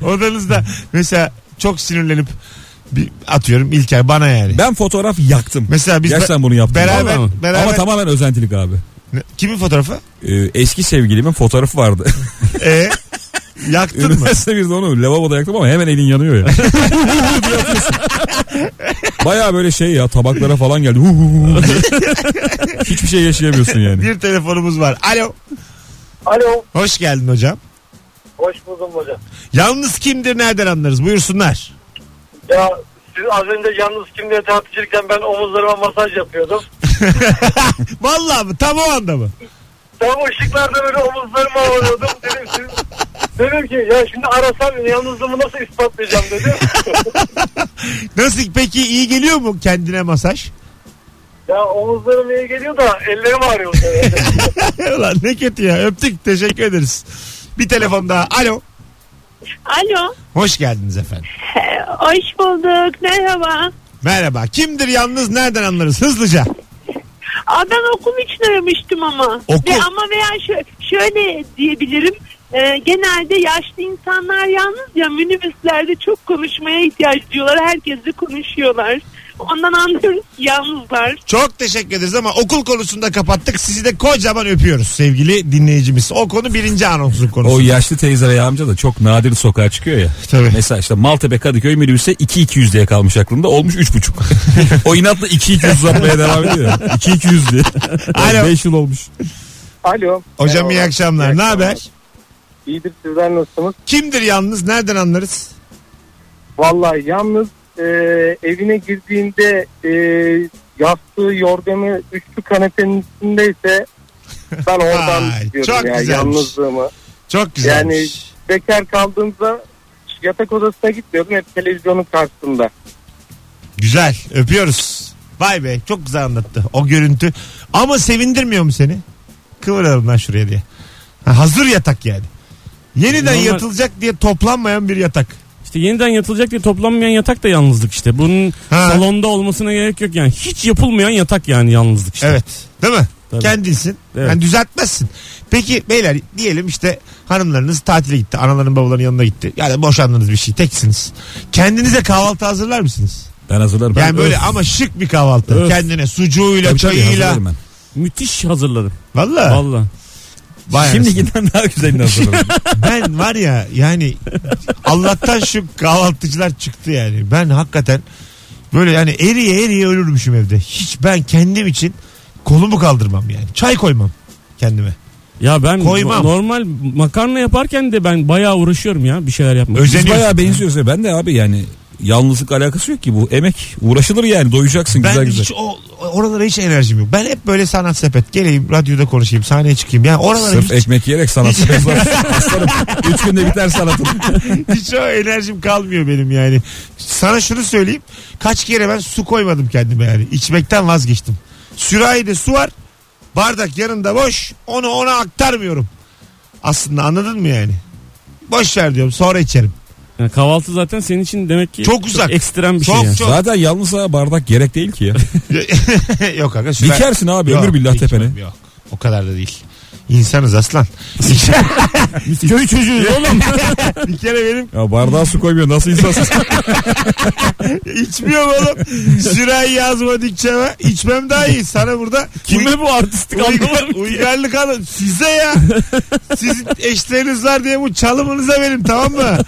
Speaker 4: *laughs*
Speaker 2: odanızda mesela çok sinirlenip bir atıyorum İlker bana yani.
Speaker 3: Ben fotoğraf yaktım.
Speaker 2: Mesela biz
Speaker 3: Gerçekten bunu yaptım.
Speaker 2: beraber
Speaker 4: Vallahi
Speaker 2: beraber
Speaker 3: Ama tamamen özentilik abi.
Speaker 2: Ne- kimin fotoğrafı?
Speaker 3: Ee, eski sevgilimin fotoğrafı vardı. *laughs*
Speaker 2: E yaktın mı?
Speaker 3: Üniversite bir de onu lavaboda yaktım ama hemen elin yanıyor ya. Diye yapıyorsun. Baya böyle şey ya tabaklara falan geldi. Hu hu hu
Speaker 2: *laughs*
Speaker 3: diye. Hiçbir şey yaşayamıyorsun yani.
Speaker 2: Bir telefonumuz var. Alo.
Speaker 5: Alo.
Speaker 2: Hoş geldin hocam.
Speaker 5: Hoş buldum hocam.
Speaker 2: Yalnız kimdir nereden anlarız? Buyursunlar.
Speaker 5: Ya siz az önce yalnız kimle tartışırken ben omuzlarıma masaj yapıyordum.
Speaker 2: Vallahi mı? Tam o anda mı?
Speaker 5: Tam ışıklarda böyle omuzlarıma alıyordum. Dedim *laughs* siz... Dedim ki ya şimdi arasam yalnızlığımı nasıl ispatlayacağım *laughs* dedim.
Speaker 2: Nasıl peki iyi geliyor mu kendine masaj?
Speaker 5: ya omuzlarım iyi geliyor da ellerim ağrıyor.
Speaker 2: *laughs* Ulan ne kötü ya. Öptük. Teşekkür ederiz. Bir telefon daha. Alo.
Speaker 7: Alo. E,
Speaker 2: Hoş geldiniz efendim.
Speaker 7: Hoş bulduk. Merhaba.
Speaker 2: Merhaba. Kimdir yalnız nereden anlarız? Hızlıca.
Speaker 7: Aa, ben okul için aramıştım ama.
Speaker 2: Okul.
Speaker 7: Ve, ama veya şö- şöyle diyebilirim. Ee, genelde yaşlı insanlar yalnız ya minibüslerde çok konuşmaya ihtiyaç duyuyorlar. Herkesle konuşuyorlar. Ondan anlıyoruz ki yalnızlar.
Speaker 2: Çok teşekkür ederiz ama okul konusunda kapattık. Sizi de kocaman öpüyoruz sevgili dinleyicimiz. O konu birinci anonsun konusu.
Speaker 3: O yaşlı teyze ve amca da çok nadir sokağa çıkıyor ya.
Speaker 2: Tabii.
Speaker 3: Mesela işte Maltepe Kadıköy minibüse 2-200 diye kalmış aklımda. Olmuş 3,5.
Speaker 2: *laughs*
Speaker 3: o inatla 2-200 uzatmaya devam ediyor. 2-200 diye.
Speaker 2: Alo.
Speaker 3: 5 yıl olmuş.
Speaker 5: *laughs* Alo.
Speaker 2: Hocam iyi akşamlar. Ne haber?
Speaker 5: İyidir sizler nasılsınız?
Speaker 2: Kimdir yalnız? Nereden anlarız?
Speaker 5: Vallahi yalnız e, evine girdiğinde e, yastığı, yorganı üçlü kanepenin
Speaker 2: *laughs*
Speaker 5: üstündeyse ben oradan
Speaker 2: Vay,
Speaker 5: diyorum
Speaker 2: çok
Speaker 5: ya
Speaker 2: güzelmiş.
Speaker 5: yalnızlığımı.
Speaker 2: Çok güzelmiş.
Speaker 5: Yani bekar kaldığımda yatak odasına gitmiyordum hep televizyonun karşısında.
Speaker 2: Güzel. Öpüyoruz. Vay be çok güzel anlattı o görüntü. Ama sevindirmiyor mu seni? Kıvıralım lan şuraya diye. Ha, hazır yatak yani. Yeniden
Speaker 4: Normal-
Speaker 2: yatılacak diye toplanmayan bir yatak.
Speaker 4: İşte yeniden yatılacak diye toplanmayan yatak da yalnızlık işte. Bunun
Speaker 2: Ha.
Speaker 4: salonda olmasına gerek yok yani. Hiç yapılmayan yatak yani yalnızlık işte.
Speaker 2: Evet. Değil mi?
Speaker 4: Tabii.
Speaker 2: Kendinsin.
Speaker 4: Evet.
Speaker 2: Yani düzeltmezsin. Peki beyler diyelim işte hanımlarınız tatile gitti. Anaların babaların yanına gitti. Yani boşandınız bir şey. Teksiniz. Kendinize kahvaltı hazırlar mısınız?
Speaker 3: Ben hazırlarım.
Speaker 2: Yani
Speaker 3: Ben
Speaker 2: böyle
Speaker 3: öf.
Speaker 2: ama şık bir kahvaltı.
Speaker 4: Öf.
Speaker 2: Kendine sucuğuyla,
Speaker 3: Tabii tabii
Speaker 2: çayıyla.
Speaker 3: hazırlarım ben.
Speaker 4: Müthiş hazırlarım.
Speaker 2: Valla.
Speaker 4: Valla.
Speaker 2: Vay
Speaker 3: Şimdi
Speaker 2: anasını.
Speaker 3: giden daha
Speaker 2: *laughs*
Speaker 3: güzelini hazırlarım.
Speaker 2: ben var ya yani Allah'tan şu kahvaltıcılar çıktı yani. Ben hakikaten böyle yani eriye eriye ölürmüşüm evde. Hiç ben kendim için kolumu kaldırmam yani. Çay koymam kendime.
Speaker 4: Ya ben
Speaker 2: Koymam.
Speaker 4: no- normal makarna yaparken de ben bayağı uğraşıyorum ya bir şeyler yapmak.
Speaker 2: Özel-
Speaker 3: Biz
Speaker 2: Özeniyorsun.
Speaker 3: bayağı benziyoruz. ya. Ben de abi yani yalnızlık alakası yok ki bu. Emek uğraşılır yani doyacaksın
Speaker 2: Ben
Speaker 3: güzel güzel.
Speaker 2: hiç o, oralara hiç enerjim yok. Ben hep böyle sanat sepet. Geleyim radyoda konuşayım sahneye çıkayım. Yani oralara
Speaker 3: Sırf
Speaker 2: hiç,
Speaker 3: ekmek yiyerek sanat
Speaker 2: Hiç- *laughs*
Speaker 3: Aslanım. Üç günde biter sanatım.
Speaker 2: hiç o enerjim kalmıyor benim yani. Sana şunu söyleyeyim. Kaç kere ben su koymadım kendime yani. İçmekten vazgeçtim. Sürahide su var. Bardak yanında boş. Onu ona aktarmıyorum. Aslında anladın mı yani? Boş ver diyorum sonra içerim. *laughs*
Speaker 4: Yani kahvaltı zaten senin için demek ki
Speaker 2: Çok uzak.
Speaker 4: ekstrem bir
Speaker 2: Çok,
Speaker 4: şey yani.
Speaker 2: çok.
Speaker 3: Zaten yalnızsa bardak gerek değil ki ya.
Speaker 2: yok kanka. süper-
Speaker 3: Dikersin abi
Speaker 2: Yok,
Speaker 3: ömür billah
Speaker 2: dikmem,
Speaker 3: tepene.
Speaker 2: Yok o kadar da değil.
Speaker 3: *laughs*
Speaker 2: İnsanız aslan.
Speaker 4: Köy çocuğu
Speaker 2: *laughs*
Speaker 4: oğlum.
Speaker 2: Bir kere benim
Speaker 3: Ya bardağa su koymuyor nasıl insansız.
Speaker 2: içmiyorum oğlum. Süreyi yazma dikçeme. İçmem daha iyi. Sana burada
Speaker 4: Kime bu artistik anlamadım.
Speaker 2: Uygar, uygarlık alın. Size ya. Sizin eşleriniz var diye bu çalımınıza verin tamam mı?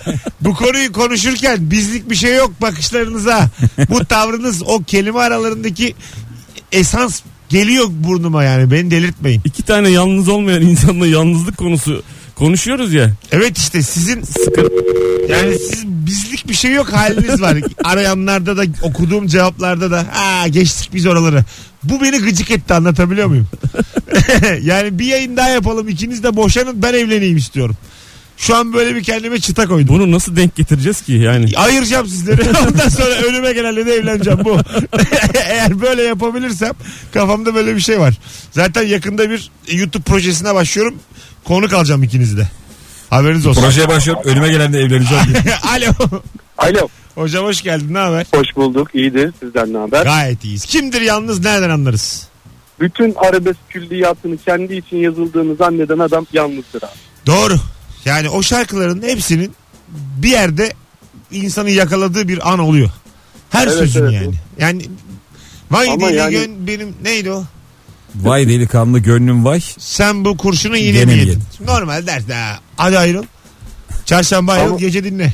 Speaker 2: Bu konuyu konuşurken bizlik bir şey yok bakışlarınıza. Bu tavrınız o kelime aralarındaki esans geliyor burnuma yani. Beni delirtmeyin.
Speaker 4: İki tane yalnız olmayan insanla yalnızlık konusu konuşuyoruz ya.
Speaker 2: Evet işte sizin yani siz bizlik bir şey yok haliniz var. Arayanlarda da okuduğum cevaplarda da ha geçtik biz oraları. Bu beni gıcık etti anlatabiliyor muyum? *laughs* yani bir yayın daha yapalım ikiniz de boşanın ben evleneyim istiyorum. Şu an böyle bir kendime çıta koydum.
Speaker 4: Bunu nasıl denk getireceğiz ki yani?
Speaker 2: Ayıracağım sizleri. *laughs* Ondan sonra önüme gelenle de evleneceğim bu. *laughs* Eğer böyle yapabilirsem kafamda böyle bir şey var. Zaten yakında bir YouTube projesine başlıyorum. Konuk alacağım ikinizi de. Haberiniz
Speaker 3: *laughs*
Speaker 2: olsun.
Speaker 3: Projeye başlıyorum önüme gelen de evleneceğim diye.
Speaker 2: *laughs* Alo.
Speaker 8: Alo.
Speaker 2: Hocam hoş geldin. Ne haber?
Speaker 8: Hoş bulduk. İyidir. Sizden ne haber?
Speaker 2: Gayet iyiyiz. Kimdir yalnız nereden anlarız?
Speaker 8: Bütün arabesk külliyatını kendi için yazıldığını zanneden adam yalnızdır abi.
Speaker 2: Doğru. Yani o şarkıların hepsinin bir yerde insanı yakaladığı bir an oluyor. Her
Speaker 8: Evet,
Speaker 2: sözün
Speaker 8: evet.
Speaker 2: yani. Yani Vay
Speaker 8: Ama
Speaker 2: deli
Speaker 8: yani-
Speaker 2: gön- benim neydi o?
Speaker 3: Vay delikanlı gönlüm vay.
Speaker 2: Sen bu kurşunu yine
Speaker 3: Yine
Speaker 2: mi
Speaker 3: mi
Speaker 2: yedin?
Speaker 3: yedin?
Speaker 2: Normal ders ha. Hadi ayrıl. Çarşamba ayrıl
Speaker 8: Ama-
Speaker 2: gece dinle.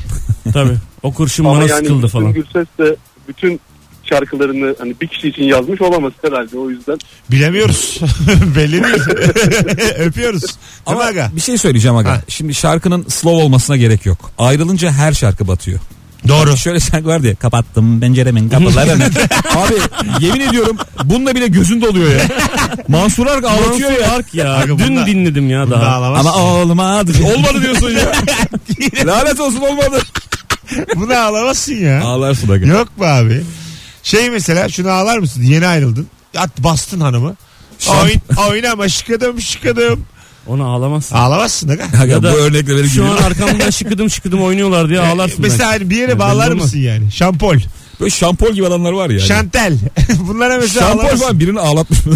Speaker 4: Tabii. O kurşun
Speaker 8: Ama
Speaker 4: bana
Speaker 8: yani
Speaker 4: sıkıldı
Speaker 8: Müslüm
Speaker 4: falan.
Speaker 8: Gürses de bütün şarkılarını hani bir kişi için yazmış olamaz herhalde o yüzden.
Speaker 2: Bilemiyoruz. *laughs* Belli değil. Öpüyoruz. Değil mi
Speaker 3: Ama
Speaker 2: aga?
Speaker 3: bir şey söyleyeceğim aga.
Speaker 2: Ha.
Speaker 3: Şimdi şarkının slow olmasına gerek yok. Ayrılınca her şarkı batıyor.
Speaker 2: Doğru.
Speaker 3: Şöyle şarkı var diye kapattım penceremin kapılarını. *laughs* Abi yemin ediyorum bununla bile gözün doluyor ya. Mansur Ark ağlatıyor
Speaker 4: Mansur
Speaker 3: ya.
Speaker 4: Ark ya.
Speaker 2: Aga
Speaker 4: Dün
Speaker 2: bunda-
Speaker 4: dinledim ya
Speaker 2: Daha
Speaker 4: daha.
Speaker 2: ağlamaz.
Speaker 3: Ama olmadı. Olmadı diyorsun ya. *laughs* Lanet olsun olmadı.
Speaker 2: Buna ağlamazsın ya.
Speaker 3: Ağlarsın aga.
Speaker 2: Yok mu abi? Şey mesela şunu ağlar mısın? Yeni ayrıldın. At bastın hanımı.
Speaker 3: an-
Speaker 2: Oyn, oynama şıkadım şıkadım.
Speaker 4: Ona ağlamazsın.
Speaker 2: Ağlamazsın da.
Speaker 3: Aga
Speaker 4: Ya da
Speaker 3: bu örnekle beni
Speaker 4: Şu an
Speaker 3: gülüyor.
Speaker 4: arkamdan şıkıdım şıkıdım oynuyorlar diye ağlarsın. belki.
Speaker 2: Mesela hani bir yere
Speaker 4: Ya
Speaker 2: bağlar
Speaker 4: belli olmaz.
Speaker 2: mısın yani? Şampol.
Speaker 3: Böyle şampol gibi adamlar var ya.
Speaker 2: Şantel. *laughs* Bunlara mesela
Speaker 3: şampol
Speaker 2: ağlamazsın.
Speaker 3: falan birini ağlatmış. mı?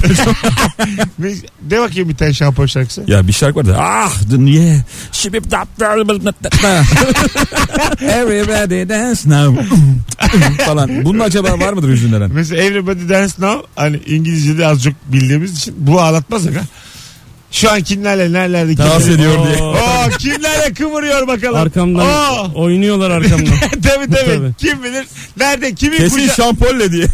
Speaker 2: De bakayım bir tane şampol şarkısı.
Speaker 3: ya bir şarkı var da ah dünya şibip dap *laughs* everybody dance now falan. Bunun acaba var mıdır hüzünlenen?
Speaker 2: Mesela Everybody Dance Now hani İngilizce'de az çok bildiğimiz için bu ağlatmaz aga. Şu an kimlerle nerelerde
Speaker 3: Dans
Speaker 2: kimlerle.
Speaker 3: ediyor diye.
Speaker 4: Oo, *laughs*
Speaker 2: Oo, kimlerle kıvırıyor bakalım.
Speaker 4: Arkamdan
Speaker 2: Oo. *laughs*
Speaker 4: oynuyorlar arkamdan.
Speaker 2: tabii, tabii
Speaker 4: Tabii.
Speaker 2: Kim bilir nerede kimin
Speaker 3: Kesin
Speaker 2: kuca-
Speaker 3: şampolle
Speaker 2: *laughs*
Speaker 3: diye.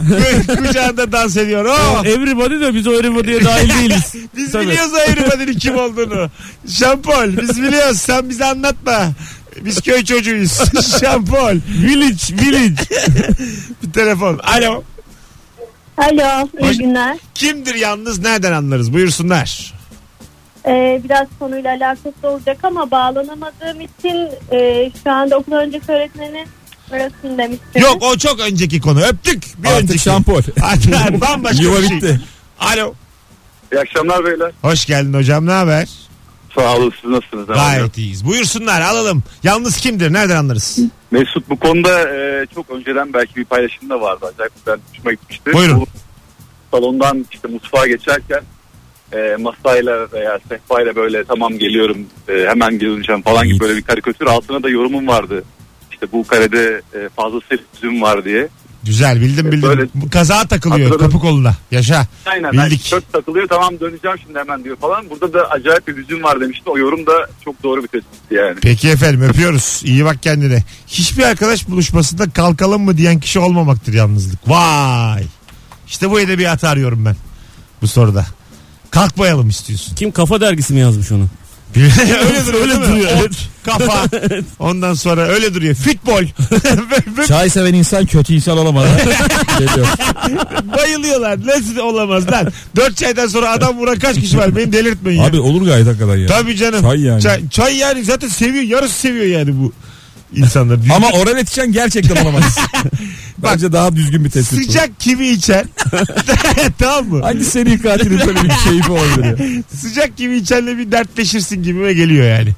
Speaker 2: kucağında dans ediyor. Oo.
Speaker 3: e-
Speaker 4: everybody de biz o everybody'ye dahil değiliz.
Speaker 2: Biz
Speaker 4: Tabii.
Speaker 2: biliyoruz o Everybody'nin kim olduğunu. Şampol biz biliyoruz sen bize anlatma. Biz köy
Speaker 3: *laughs*
Speaker 2: çocuğuyuz. Şampol. Village, village. bir telefon. Alo.
Speaker 9: Alo,
Speaker 2: Hoş-
Speaker 9: iyi günler.
Speaker 2: Kimdir yalnız nereden anlarız? Buyursunlar.
Speaker 9: Ee, biraz konuyla alakası olacak ama bağlanamadığım için e, şu anda okul öncesi öğretmeni arasın demiştiniz.
Speaker 2: Yok o çok önceki konu. Öptük. Bir
Speaker 3: Artık
Speaker 2: önceki.
Speaker 3: şampol.
Speaker 2: Artık bambaşka
Speaker 3: Yuva
Speaker 2: bir şey.
Speaker 3: bitti.
Speaker 2: Alo.
Speaker 8: İyi akşamlar beyler.
Speaker 2: Hoş geldin hocam ne haber?
Speaker 8: Sağ olun siz nasılsınız?
Speaker 2: Gayet iyiyiz. Buyursunlar alalım. Yalnız kimdir? Nereden anlarız?
Speaker 8: Mesut bu konuda e, çok önceden belki bir paylaşım da vardı. Acayip ben hoşuma gitmişti.
Speaker 2: Buyurun.
Speaker 8: Bu salondan işte mutfağa geçerken e, masayla veya sehpayla böyle tamam geliyorum e, hemen geleceğim falan gibi böyle bir karikatür altına da yorumum vardı. İşte bu karede e, fazla sürprizim var diye.
Speaker 2: Güzel bildim bildim.
Speaker 8: E, Böyle-
Speaker 2: Bu Kaza takılıyor
Speaker 8: Hatırladım.
Speaker 2: kapı koluna. Yaşa.
Speaker 8: Aynen.
Speaker 2: Bildik.
Speaker 8: Yani çok takılıyor tamam döneceğim şimdi hemen diyor falan. Burada da acayip bir hüzün var demişti. O yorum da çok doğru bir tespitti yani.
Speaker 2: Peki efendim öpüyoruz. İyi bak kendine. Hiçbir arkadaş buluşmasında kalkalım mı diyen kişi olmamaktır yalnızlık. Vay. İşte bu edebiyatı arıyorum ben bu soruda. Kalkmayalım istiyorsun.
Speaker 4: Kim kafa dergisi mi yazmış onu?
Speaker 2: öyle duruyor.
Speaker 4: *laughs* Öyle
Speaker 2: değil mi?
Speaker 4: duruyor,
Speaker 2: Ot,
Speaker 4: evet.
Speaker 2: kafa. Ondan sonra öyle duruyor. Futbol. Ve- ve
Speaker 3: Çay seven insan kötü insan olamaz. Geliyor.
Speaker 2: Bayılıyorlar. Nasıl olamaz lan? Dört çaydan sonra adam vuran kaç kişi var? Beni delirtmeyin. ya.
Speaker 3: Abi olur gayet hakikaten ya.
Speaker 2: Tabii canım.
Speaker 3: Çay yani.
Speaker 2: Çay, çay yani zaten seviyor. Yarısı seviyor yani bu. insanlar. Düz-
Speaker 3: Ama oral etişen gerçekten olamaz.
Speaker 2: *laughs*
Speaker 3: Bence daha düzgün bir tespit. bu.
Speaker 2: Sıcak kimi içer?
Speaker 3: *laughs*
Speaker 2: tamam mı?
Speaker 3: Hangi seri katilin böyle bir keyfi olabilir ya?
Speaker 2: Sıcak kimi içenle bir dertleşirsin gibime geliyor yani.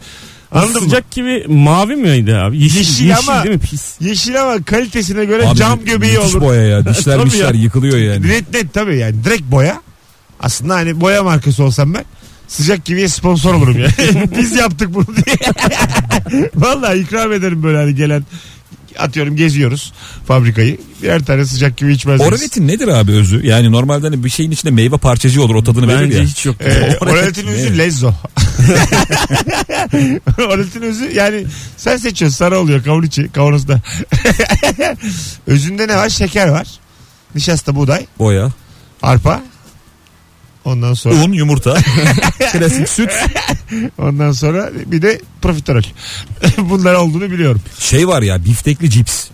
Speaker 2: Anladın mı?
Speaker 4: Sıcak gibi mavi miydi abi? Yeşil,
Speaker 2: Yeşil
Speaker 4: yeşil,
Speaker 2: ama-
Speaker 4: değil mi? Pis.
Speaker 2: Yeşil ama kalitesine göre
Speaker 3: Abi,
Speaker 2: cam göbeği
Speaker 3: müthiş
Speaker 2: olur.
Speaker 3: boya
Speaker 2: *laughs*
Speaker 3: ya. Dişler
Speaker 2: Tabii
Speaker 3: mişler
Speaker 2: ya.
Speaker 3: yıkılıyor yani.
Speaker 2: Net net tabii yani direkt boya. Aslında hani boya markası olsam ben sıcak kiviye sponsor olurum
Speaker 3: *laughs*
Speaker 2: ya. *laughs* Biz yaptık bunu diye. *laughs* Vallahi ikram ederim böyle hani gelen atıyorum geziyoruz fabrikayı. Birer tane sıcak kivi içmez.
Speaker 3: Oral etin nedir abi özü? Yani normalde hani bir şeyin içinde meyve parçacığı olur o tadını verir
Speaker 4: Bence
Speaker 3: ya.
Speaker 4: hiç yok.
Speaker 2: Ee,
Speaker 3: Oral etin
Speaker 2: Oraletin özü
Speaker 3: ne? *laughs*
Speaker 2: lezzo. Oraletin özü yani sen seçiyorsun sarı oluyor kavun içi kavanozda. *laughs* Özünde ne var? Şeker var. Nişasta buğday.
Speaker 3: Boya,
Speaker 2: Arpa. Ondan sonra
Speaker 3: un, *laughs* yumurta, klasik süt.
Speaker 2: ondan sonra bir de profiterol. *laughs* Bunlar olduğunu biliyorum.
Speaker 3: Şey var ya biftekli cips.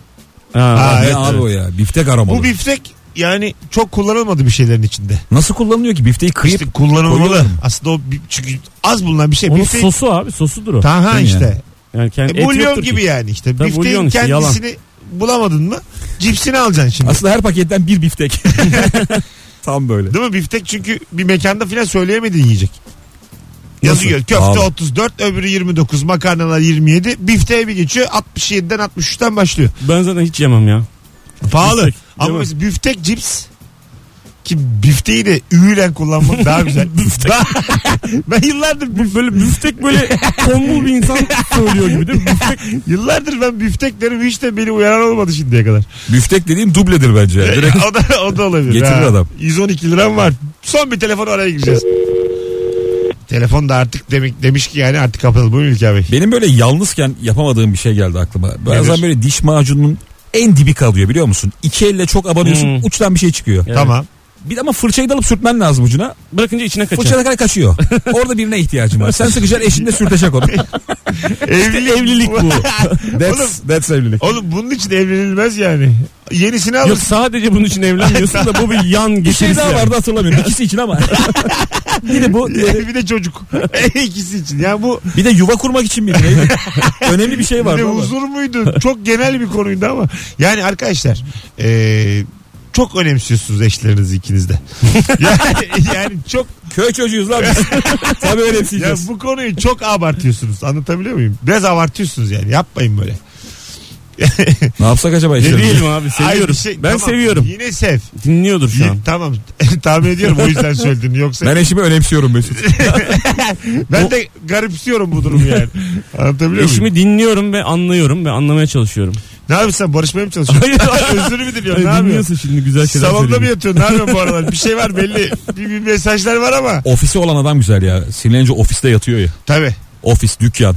Speaker 4: Ha,
Speaker 2: Ha,
Speaker 3: ne
Speaker 2: evet,
Speaker 3: abi
Speaker 2: evet.
Speaker 3: o ya? Biftek aromalı.
Speaker 2: Bu biftek yani çok kullanılmadı bir şeylerin içinde.
Speaker 3: Nasıl kullanılıyor ki? Bifteyi kıyıp
Speaker 2: İşte kullanılmalı.
Speaker 3: koyuyorlar.
Speaker 2: Aslında o bi- çünkü az bulunan bir şey.
Speaker 4: Onun
Speaker 2: Biftek
Speaker 4: sosu abi sosudur o.
Speaker 2: Taha
Speaker 3: Değil mi
Speaker 2: işte.
Speaker 3: yani?
Speaker 4: Yani kendi
Speaker 2: E,
Speaker 4: et
Speaker 2: bulyon
Speaker 4: yoktur
Speaker 2: gibi
Speaker 4: ki.
Speaker 2: yani işte.
Speaker 4: Tabii
Speaker 2: Bifteğin
Speaker 4: bulyon işte, yalan.
Speaker 2: kendisini bulamadın mı cipsini alacaksın şimdi.
Speaker 3: Aslında her paketten bir *laughs* biftek. Tam böyle.
Speaker 2: Değil mi? Biftek çünkü bir mekanda falan söyleyemediğin yiyecek.
Speaker 3: Nasıl?
Speaker 2: Yazıyor. Köfte
Speaker 3: Pahalı.
Speaker 2: 34, öbürü 29, makarnalar 27. Bifteğe bir geçiyor. 67'den 63'ten başlıyor.
Speaker 4: Ben zaten hiç yemem ya.
Speaker 2: Pahalı.
Speaker 4: Biftek,
Speaker 2: Ama
Speaker 4: değil mi?
Speaker 2: mesela biftek cips ki bifteyi de övülen kullanmak
Speaker 4: *laughs*
Speaker 2: daha güzel. Daha- ben yıllardır
Speaker 4: Bu böyle
Speaker 2: *laughs*
Speaker 4: büftek böyle tombul bir insan söylüyor gibi değil mi? Büftek
Speaker 2: yıllardır ben biftek derim hiç de beni uyaran olmadı şimdiye kadar.
Speaker 3: Biftek dediğim dubledir bence. Yani. *laughs* Direkt
Speaker 2: o da o da olabilir.
Speaker 3: Getirir
Speaker 2: ha.
Speaker 3: E, adam.
Speaker 2: 112 liram var. Son bir telefon araya gireceğiz. Telefon da artık demek, demiş ki yani artık kapatalım. Buyurun İlker Bey.
Speaker 3: Benim böyle yalnızken yapamadığım bir şey geldi aklıma. Bazen
Speaker 2: Nedir?
Speaker 3: böyle diş macununun en dibi kalıyor biliyor musun? İki elle çok abanıyorsun
Speaker 4: Hmm.
Speaker 3: uçtan bir şey çıkıyor. *laughs*
Speaker 4: Evet.
Speaker 2: Tamam.
Speaker 3: Bir de ama fırçayı da alıp sürtmen lazım ucuna.
Speaker 4: bırakınca içine kaçar.
Speaker 3: Fırçana kadar *laughs* kaçıyor. Orada birine ihtiyacım var. Sen sıkışacaksın eşin de sürtecek onu.
Speaker 2: Evlilik,
Speaker 4: evlilik bu.
Speaker 3: That's, that's evlilik.
Speaker 2: *laughs* Oğlum bunun için evlenilmez yani. Yenisini
Speaker 4: Yok
Speaker 2: alırsın.
Speaker 4: sadece bunun için evlenmiyorsun da bu bir yan
Speaker 3: Bir şey
Speaker 4: getirisi.
Speaker 3: daha
Speaker 4: yani.
Speaker 3: vardı hatırlamıyorum. İkisi için ama. *laughs* bir de *laughs* bu
Speaker 2: *laughs*
Speaker 3: e,
Speaker 2: bir de çocuk. İkisi için. Ya bu
Speaker 3: bir de yuva kurmak için miydi? Neydi? Önemli bir şey
Speaker 2: bir
Speaker 3: var.
Speaker 2: de huzur
Speaker 3: *laughs*
Speaker 2: muydu? Çok genel bir konuydu ama. Yani arkadaşlar eee, çok önemsiyorsunuz eşlerinizi ikiniz de. *laughs* yani, yani çok
Speaker 3: Köy çocuğuyuz lan biz.
Speaker 2: *laughs*
Speaker 3: Tabii öyle
Speaker 2: Ya
Speaker 3: yapacağız.
Speaker 2: bu konuyu çok abartıyorsunuz. Anlatabiliyor muyum? Biraz abartıyorsunuz yani. Yapmayın böyle.
Speaker 3: Ne yapsak acaba
Speaker 4: Ne
Speaker 3: işlerimizi?
Speaker 4: diyelim abi
Speaker 2: Ay bir
Speaker 4: seviyorum.
Speaker 2: şey-
Speaker 4: ben
Speaker 2: tamam,
Speaker 4: seviyorum.
Speaker 2: Yine sev.
Speaker 4: Dinliyordur şu
Speaker 2: Yine-
Speaker 4: an.
Speaker 2: tamam. *laughs* Tahmin ediyorum o yüzden söyledin. Yoksa
Speaker 3: Ben
Speaker 2: ben,
Speaker 3: eşimi önemsiyorum
Speaker 2: *laughs*
Speaker 3: Mesut.
Speaker 2: de garipsiyorum bu durumu
Speaker 4: *laughs*
Speaker 2: yani. Anlatabiliyor muyum?
Speaker 4: Eşimi dinliyorum ve anlıyorum ve anlamaya çalışıyorum.
Speaker 2: Ne yapıyorsun sen? Barışmaya mı çalışıyorsun? *laughs* Özür mü diliyorsun? Ne
Speaker 4: Ay,
Speaker 2: yapıyorsun?
Speaker 4: Dinliyorsun şimdi güzel şeyler
Speaker 2: Salonda mı
Speaker 4: söylüyorum.
Speaker 2: yatıyorsun? Ne yapıyorsun bu
Speaker 4: *laughs*
Speaker 2: aralar? Bir şey var belli. Bir, bir mesajlar var ama.
Speaker 3: Ofisi olan adam güzel ya. Sinirlenince ofiste yatıyor ya.
Speaker 2: Tabii.
Speaker 3: Ofis, dükkan.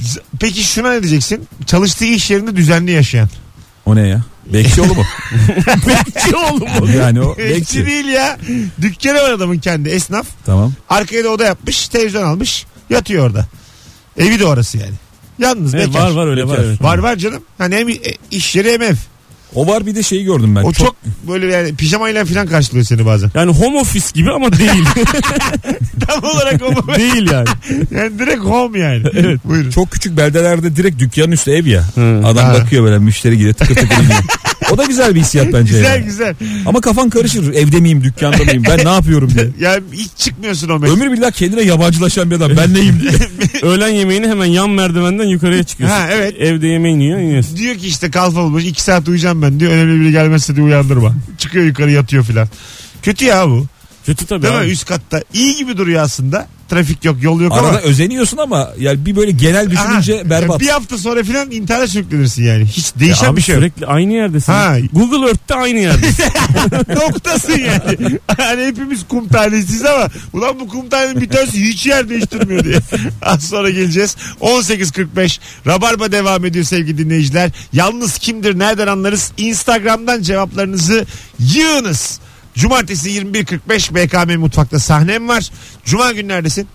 Speaker 2: Z- Peki şuna ne diyeceksin? Çalıştığı iş yerinde düzenli yaşayan.
Speaker 3: O ne ya? Bekçi oğlu mu?
Speaker 2: *laughs* Bekçi oğlum *laughs*
Speaker 3: yani o
Speaker 2: Bekçi
Speaker 3: bekçi.
Speaker 2: değil ya. Dükkanı var adamın kendi. Esnaf.
Speaker 3: Tamam.
Speaker 2: Arkaya da oda yapmış. Televizyon almış. Yatıyor orada. Evi de orası yani. Yalnız
Speaker 4: Evet,
Speaker 2: bekar.
Speaker 4: var var öyle var.
Speaker 3: Bekar.
Speaker 4: Evet.
Speaker 2: Var var canım. Hani hem e, iş yeri hem ev.
Speaker 3: O var bir de şeyi gördüm ben.
Speaker 2: O çok, böyle yani pijamayla falan karşılıyor seni bazen. *laughs*
Speaker 4: Yani home office gibi ama değil. *laughs*
Speaker 2: Tam olarak o böyle.
Speaker 4: değil yani.
Speaker 2: Yani direkt home yani. Evet. Buyurun.
Speaker 3: çok küçük beldelerde direkt dükkanın üstü ev ya.
Speaker 4: Hı.
Speaker 3: Adam
Speaker 2: Ha.
Speaker 3: bakıyor böyle müşteri gidiyor tıkır tıkır
Speaker 2: *laughs*
Speaker 3: iniyor. O da güzel bir hissiyat bence.
Speaker 2: güzel
Speaker 3: yani.
Speaker 2: güzel.
Speaker 3: Ama kafan karışır. Evde miyim, dükkanda mıyım? Ben ne yapıyorum diye.
Speaker 2: Yani hiç çıkmıyorsun o mekan.
Speaker 3: Ömür billah kendine yabancılaşan bir adam. Ben neyim diye.
Speaker 4: Öğlen yemeğini hemen yan merdivenden yukarıya çıkıyorsun.
Speaker 2: Ha, evet.
Speaker 4: Evde yemeğini yiyor iniyorsun.
Speaker 2: Diyor ki işte kalfa bulmuş. iki saat uyuyacağım ben diyor. Önemli biri gelmezse diyor uyandırma. Çıkıyor yukarı yatıyor filan. Kötü ya bu.
Speaker 4: Kötü tabii
Speaker 2: Değil
Speaker 4: abi.
Speaker 2: mi? Üst katta. İyi gibi duruyor aslında. Trafik yok yol yok
Speaker 3: *laughs*
Speaker 2: ama.
Speaker 3: Arada özeniyorsun ama yani bir böyle genel düşününce
Speaker 2: Aha.
Speaker 3: berbat.
Speaker 2: Bir hafta sonra filan intihara sürüklenirsin yani. Hiç
Speaker 4: Ya
Speaker 2: değişen
Speaker 4: abi
Speaker 2: bir şey yok.
Speaker 4: sürekli aynı yerdesin.
Speaker 2: Ha.
Speaker 4: Google Earth'te aynı yerdesin.
Speaker 2: *laughs* Noktasın yani. hani hepimiz kum tanesiyiz ama ulan bu kum tanenin bir tanesi hiç yer değiştirmiyor
Speaker 4: *laughs*
Speaker 2: diye. Az sonra geleceğiz. 18.45 Rabarba devam ediyor sevgili dinleyiciler. Yalnız kimdir nereden anlarız? Instagram'dan cevaplarınızı yığınız. Cumartesi 21.45 BKM Mutfak'ta sahnem var. Cuma günlerdesin.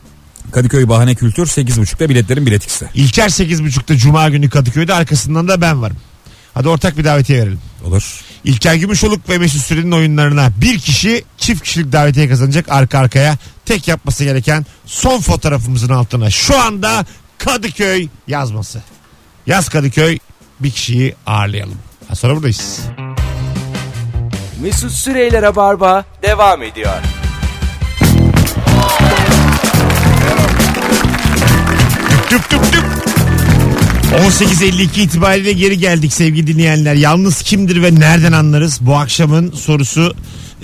Speaker 3: Kadıköy Bahane Kültür 8.30'da biletlerin biletikse.
Speaker 2: İlker 8.30'da Cuma günü Kadıköy'de arkasından da ben varım. Hadi ortak bir davetiye verelim.
Speaker 3: Olur.
Speaker 2: İlker Gümüşoluk ve Mesut Süren'in oyunlarına bir kişi çift kişilik davetiye kazanacak arka arkaya. Tek yapması gereken son fotoğrafımızın altına şu anda Kadıköy yazması. Yaz Kadıköy bir kişiyi ağırlayalım. Ha, sonra buradayız.
Speaker 1: Mesut Süreyler'e barba devam ediyor.
Speaker 2: Tüp tüp tüp. 18.52 itibariyle geri geldik sevgili dinleyenler. Yalnız kimdir ve nereden anlarız? Bu akşamın sorusu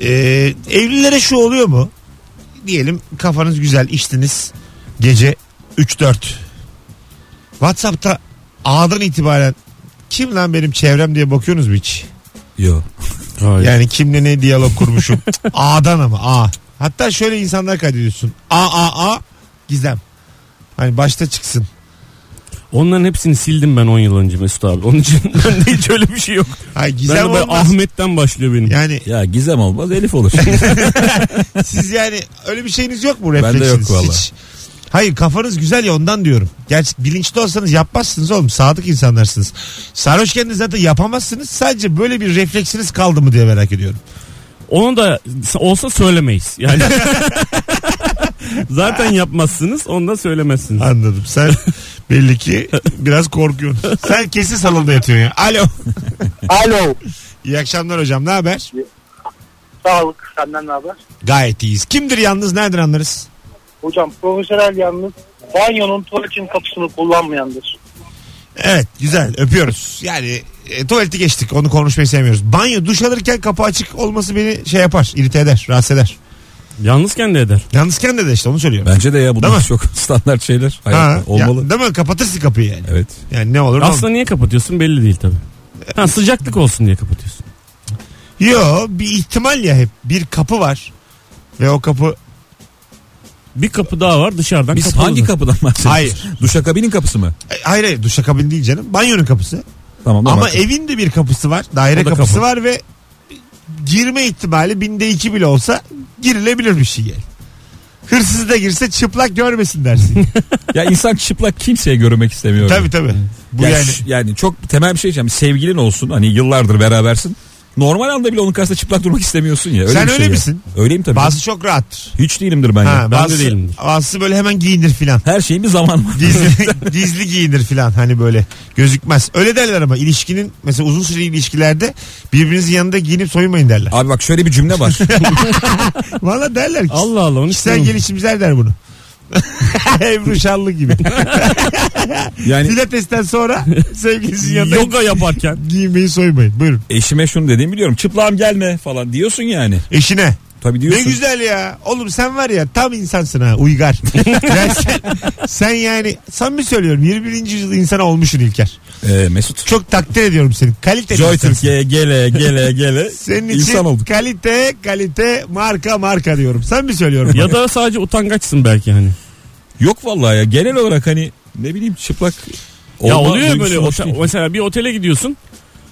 Speaker 2: e, evlilere şu oluyor mu? Diyelim kafanız güzel içtiniz gece 3-4. Whatsapp'ta A'dan itibaren kim lan benim çevrem diye bakıyorsunuz mu hiç?
Speaker 3: Yok.
Speaker 2: Yani kimle ne diyalog
Speaker 4: *laughs*
Speaker 2: kurmuşum. A'dan ama A. Hatta şöyle insanlar kaydediyorsun. A A A Gizem. Hani başta çıksın.
Speaker 4: Onların hepsini sildim ben 10 yıl önce Mesut abi. Onun için *laughs* bende hiç öyle bir şey yok.
Speaker 2: Hayır
Speaker 4: Ben
Speaker 2: Gizem
Speaker 4: de böyle
Speaker 2: olmaz.
Speaker 4: Ahmet'ten başlıyor benim.
Speaker 2: Yani
Speaker 3: Ya Gizem olmaz Elif
Speaker 2: *laughs*
Speaker 3: olur.
Speaker 2: Siz yani öyle bir şeyiniz yok mu
Speaker 3: Bende
Speaker 2: refleksiniz?
Speaker 3: yok valla.
Speaker 2: Hiç. Hayır kafanız güzel ya ondan diyorum. Gerçi bilinçli olsanız yapmazsınız oğlum. Sadık insanlarsınız. Sarhoşken de zaten yapamazsınız. Sadece böyle bir refleksiniz kaldı mı diye merak ediyorum.
Speaker 4: Onu da olsa söylemeyiz. Yani *laughs* Zaten yapmazsınız, onu da söylemezsiniz.
Speaker 2: Anladım. *laughs* Sen belli ki biraz korkuyorsun. Sen kesin salonda yatıyorsun ya. Alo.
Speaker 5: Alo.
Speaker 2: İyi akşamlar hocam. Ne haber?
Speaker 5: Sağlık senden ne haber?
Speaker 2: Gayet iyiyiz. Kimdir yalnız? Nereden anlarız?
Speaker 5: Hocam profesyonel yalnız banyonun tuvaletin kapısını kullanmayandır.
Speaker 2: Evet güzel öpüyoruz. Yani e, tuvaleti geçtik onu konuşmayı sevmiyoruz. Banyo duş alırken kapı açık olması beni şey yapar irite eder rahatsız eder.
Speaker 4: Yalnızken de eder.
Speaker 2: Yalnızken de de işte onu söylüyorum.
Speaker 3: Bence de ya
Speaker 2: Değil
Speaker 3: bunlar
Speaker 2: mi?
Speaker 3: çok *laughs* standart şeyler.
Speaker 2: Ha,
Speaker 3: Hayatta olmalı.
Speaker 2: Ya, değil mi? Kapatırsın kapıyı yani.
Speaker 3: Evet.
Speaker 2: Yani ne olur ne
Speaker 4: Aslında niye kapatıyorsun belli değil tabii. Ha, sıcaklık olsun diye kapatıyorsun.
Speaker 2: olur. Yo bir ihtimal ya hep. Bir kapı var. Ve o kapı
Speaker 4: Bir kapı daha var dışarıdan
Speaker 3: Biz
Speaker 4: kapalı.
Speaker 3: hangi kapıdan bahsediyoruz?
Speaker 2: Hayır.
Speaker 3: Duşakabinin kapısı mı?
Speaker 2: E, hayır hayır duşakabin değil canım. Banyonun kapısı.
Speaker 3: Tamam
Speaker 2: Ama e-
Speaker 3: normal.
Speaker 2: evin de bir kapısı var. Daire
Speaker 4: O da
Speaker 2: kapısı
Speaker 4: kapı.
Speaker 2: var ve girme ihtimali binde iki bile olsa girilebilir bir şey yani. Hırsız da girse çıplak görmesin
Speaker 4: *laughs*
Speaker 2: dersin.
Speaker 3: Ya insan çıplak kimseye görmek istemiyor.
Speaker 2: tabii tabii. Bu
Speaker 3: Ya
Speaker 2: yani.
Speaker 3: ş- yani. çok temel bir şey diyeceğim. Sevgilin olsun hani yıllardır berabersin. Normal anda bile onun karşısında çıplak durmak istemiyorsun ya. Öyle
Speaker 2: Sen
Speaker 3: bir şey
Speaker 2: öyle
Speaker 3: ya.
Speaker 2: misin?
Speaker 3: Öyleyim tabii.
Speaker 2: Bazı çok rahattır.
Speaker 3: Hiç değilimdir ben
Speaker 2: Ha,
Speaker 3: ya.
Speaker 4: de
Speaker 2: bazı,
Speaker 4: değilim.
Speaker 2: bazı böyle hemen giyinir filan.
Speaker 3: Her şeyin bir zamanı
Speaker 2: *laughs*
Speaker 3: var. *laughs*
Speaker 2: Gizli, gizli giyinir filan hani böyle gözükmez. Öyle derler ama ilişkinin mesela uzun süreli ilişkilerde birbirinizin yanında giyinip soyunmayın derler.
Speaker 3: Abi bak şöyle bir cümle
Speaker 2: *laughs*
Speaker 3: var.
Speaker 2: Valla derler ki.
Speaker 4: Allah Allah onu
Speaker 2: Kişisel
Speaker 4: istemiyorum.
Speaker 2: gelişimciler der bunu. *laughs* Ebru Şallı gibi.
Speaker 3: Yani *laughs*
Speaker 2: Pilates'ten sonra sevgilisinin yanında
Speaker 4: Yoga yaparken.
Speaker 2: giyinmeyi soymayın. Buyurun.
Speaker 3: eşime şunu dediğimi biliyorum. Çıplağım gelme falan diyorsun yani.
Speaker 2: Eşine.
Speaker 3: Tabii diyorsun.
Speaker 2: Ne güzel ya. Oğlum sen var ya tam insansın ha
Speaker 3: *laughs*
Speaker 2: uygar. Ya sen, sen yani samimi söylüyorum 21. yüzyıl insana olmuşsun İlker.
Speaker 3: Ee, Mesut.
Speaker 2: Çok takdir ediyorum seni. Kaliteli
Speaker 3: Joy
Speaker 2: insansın.
Speaker 3: Türkiye'ye gele gele gele.
Speaker 2: *laughs* Senin için
Speaker 3: insan olduk.
Speaker 2: kalite kalite marka marka diyorum. Sen mi söylüyorum?
Speaker 4: ya da sadece utangaçsın belki hani.
Speaker 3: Yok vallahi ya genel olarak hani ne bileyim çıplak
Speaker 4: Ya
Speaker 3: olma
Speaker 4: oluyor ya
Speaker 3: duygusu
Speaker 4: böyle
Speaker 3: hoş
Speaker 4: ote-
Speaker 3: değil.
Speaker 4: mesela bir otele gidiyorsun.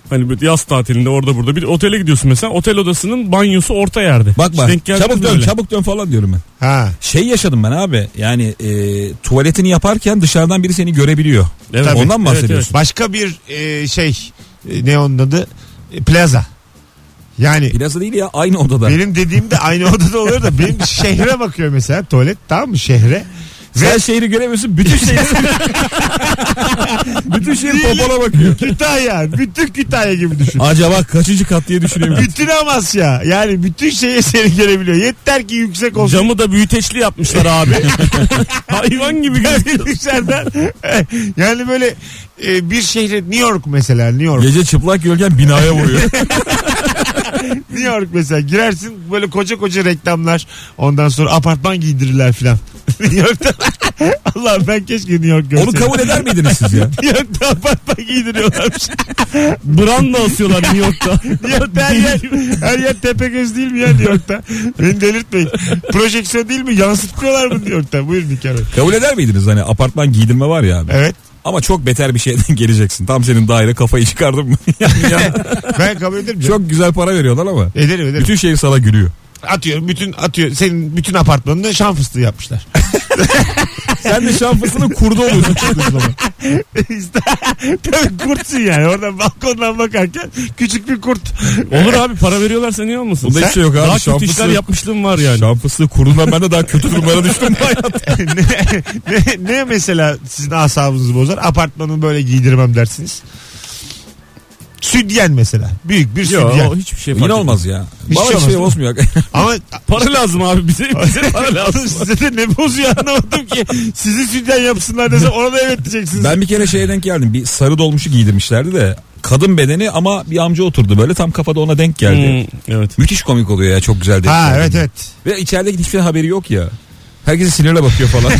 Speaker 4: Hani böyle yaz tatilinde orada burada bir otele gidiyorsun mesela otel odasının banyosu orta yerde.
Speaker 3: Bak
Speaker 4: Hiç
Speaker 3: bak
Speaker 4: denk geldiniz
Speaker 3: çabuk
Speaker 4: mi
Speaker 3: dön
Speaker 4: öyle?
Speaker 3: çabuk dön falan diyorum ben.
Speaker 2: Ha.
Speaker 3: Şey yaşadım ben abi yani e, tuvaletini yaparken dışarıdan biri seni görebiliyor.
Speaker 4: Evet.
Speaker 2: Tabii.
Speaker 3: Ondan mı
Speaker 4: Evet,
Speaker 3: bahsediyorsun?
Speaker 2: Başka bir e, şey e, ne onun adı? E, plaza. Yani
Speaker 3: Plaza değil ya aynı odada.
Speaker 2: benim dediğim de aynı odada oluyor da benim şehre bakıyor mesela tuvalet tamam mı şehre.
Speaker 3: Sen şehri göremiyorsun bütün şehir. bütün şehir popona bakıyor.
Speaker 2: Kütahya. Bütün Kütahya gibi düşün.
Speaker 3: Acaba kaçıncı kat diye *laughs* düşünemiyorum.
Speaker 2: bütün Amasya. Yani bütün şeye seni görebiliyor. Yeter ki yüksek olsun.
Speaker 4: Camı da büyüteçli
Speaker 3: *laughs*
Speaker 4: yapmışlar abi. Hayvan gibi gözüküyor.
Speaker 2: Dışarıdan. *laughs* yani böyle e, bir şehre New York mesela New York.
Speaker 3: Gece çıplak yürürken binaya
Speaker 4: *laughs*
Speaker 3: vuruyor.
Speaker 2: New York mesela girersin böyle koca koca reklamlar ondan sonra apartman giydirirler filan. *laughs* New York'ta *laughs* Allah ben keşke New York görseydim.
Speaker 3: Onu kabul eder miydiniz siz ya?
Speaker 2: *laughs* New York'ta
Speaker 3: *laughs*
Speaker 2: apartman giydiriyorlarmış.
Speaker 4: Branda asıyorlar New York'ta.
Speaker 2: New York'ta her yer, her yer tepe göz değil mi ya New York'ta? Beni delirtmeyin. Projeksiyon değil mi? Yansıtmıyorlar mı New York'ta? Buyurun hikaye.
Speaker 3: Kabul eder miydiniz hani apartman giydirme var ya abi.
Speaker 2: Evet.
Speaker 3: Ama çok beter bir şeyden *laughs* geleceksin. Tam senin daire kafayı çıkardın mı? *laughs* Yani ya,
Speaker 2: Ben kabul ederim. canım.
Speaker 3: çok güzel para veriyorlar ama.
Speaker 2: Ederim ederim.
Speaker 3: Bütün şehir sana gülüyor. *laughs*
Speaker 2: Atıyorum bütün atıyor. Senin bütün apartmanını şan fıstığı yapmışlar.
Speaker 3: Sen de şanfısının kurdu oluyorsun çıktığın zaman.
Speaker 2: *laughs* Tabii kurtsun yani. Oradan balkondan bakarken küçük
Speaker 3: *laughs*
Speaker 2: bir kurt.
Speaker 4: Olur abi para veriyorlarsa niye olmasın?
Speaker 3: Bunda hiç şey yok abi.
Speaker 4: Daha kötü
Speaker 3: şanfısı-
Speaker 4: işler yapmışlığım var yani.
Speaker 3: Şanfısının kurduğundan ben de daha kötü durumlara
Speaker 2: *laughs*
Speaker 3: düştüm bu hayat.
Speaker 2: ne, ne, ne mesela sizin asabınızı bozar? Apartmanı böyle giydirmem dersiniz. Südyen mesela. Büyük bir
Speaker 4: Yok
Speaker 2: südyen.
Speaker 4: hiçbir şey fark
Speaker 3: Yine
Speaker 4: etmez.
Speaker 3: olmaz ya.
Speaker 2: Hiç
Speaker 3: Bana
Speaker 2: şey
Speaker 3: hiç şey
Speaker 2: olmaz.
Speaker 3: bozmuyor.
Speaker 2: Ama
Speaker 4: Para lazım abi bize. Bize para lazım.
Speaker 2: Oğlum *laughs* size de ne bozuyor anlamadım ki. Sizi sütyen yapsınlar dese ona da evet
Speaker 3: *laughs*
Speaker 2: diyeceksiniz.
Speaker 3: ben bir kere şeye denk geldim. Bir sarı dolmuşu giydirmişlerdi de. Kadın bedeni ama bir amca oturdu böyle tam kafada ona denk geldi.
Speaker 4: Hmm, evet.
Speaker 3: Müthiş komik oluyor ya çok güzel denk
Speaker 2: Ha
Speaker 3: geldi.
Speaker 2: evet evet.
Speaker 3: Ve içerideki hiçbir haberi yok ya. Herkes sinirle bakıyor falan.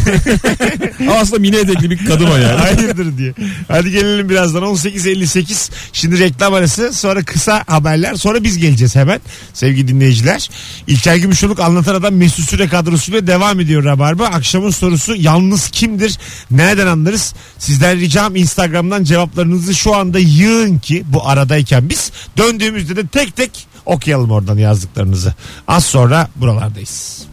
Speaker 3: ama aslında mini etekli bir kadın o yani.
Speaker 2: *laughs* Hayırdır diye. Hadi gelelim birazdan 18.58. Şimdi reklam arası sonra kısa haberler sonra biz geleceğiz hemen sevgili dinleyiciler. İlker Gümüşoluk anlatan adam Mesut Süre kadrosuyla devam ediyor Rabarba. Akşamın sorusu yalnız kimdir? Nereden anlarız? Sizden ricam Instagram'dan cevaplarınızı şu anda yığın ki bu aradayken biz döndüğümüzde de tek tek okuyalım oradan yazdıklarınızı. Az sonra buralardayız.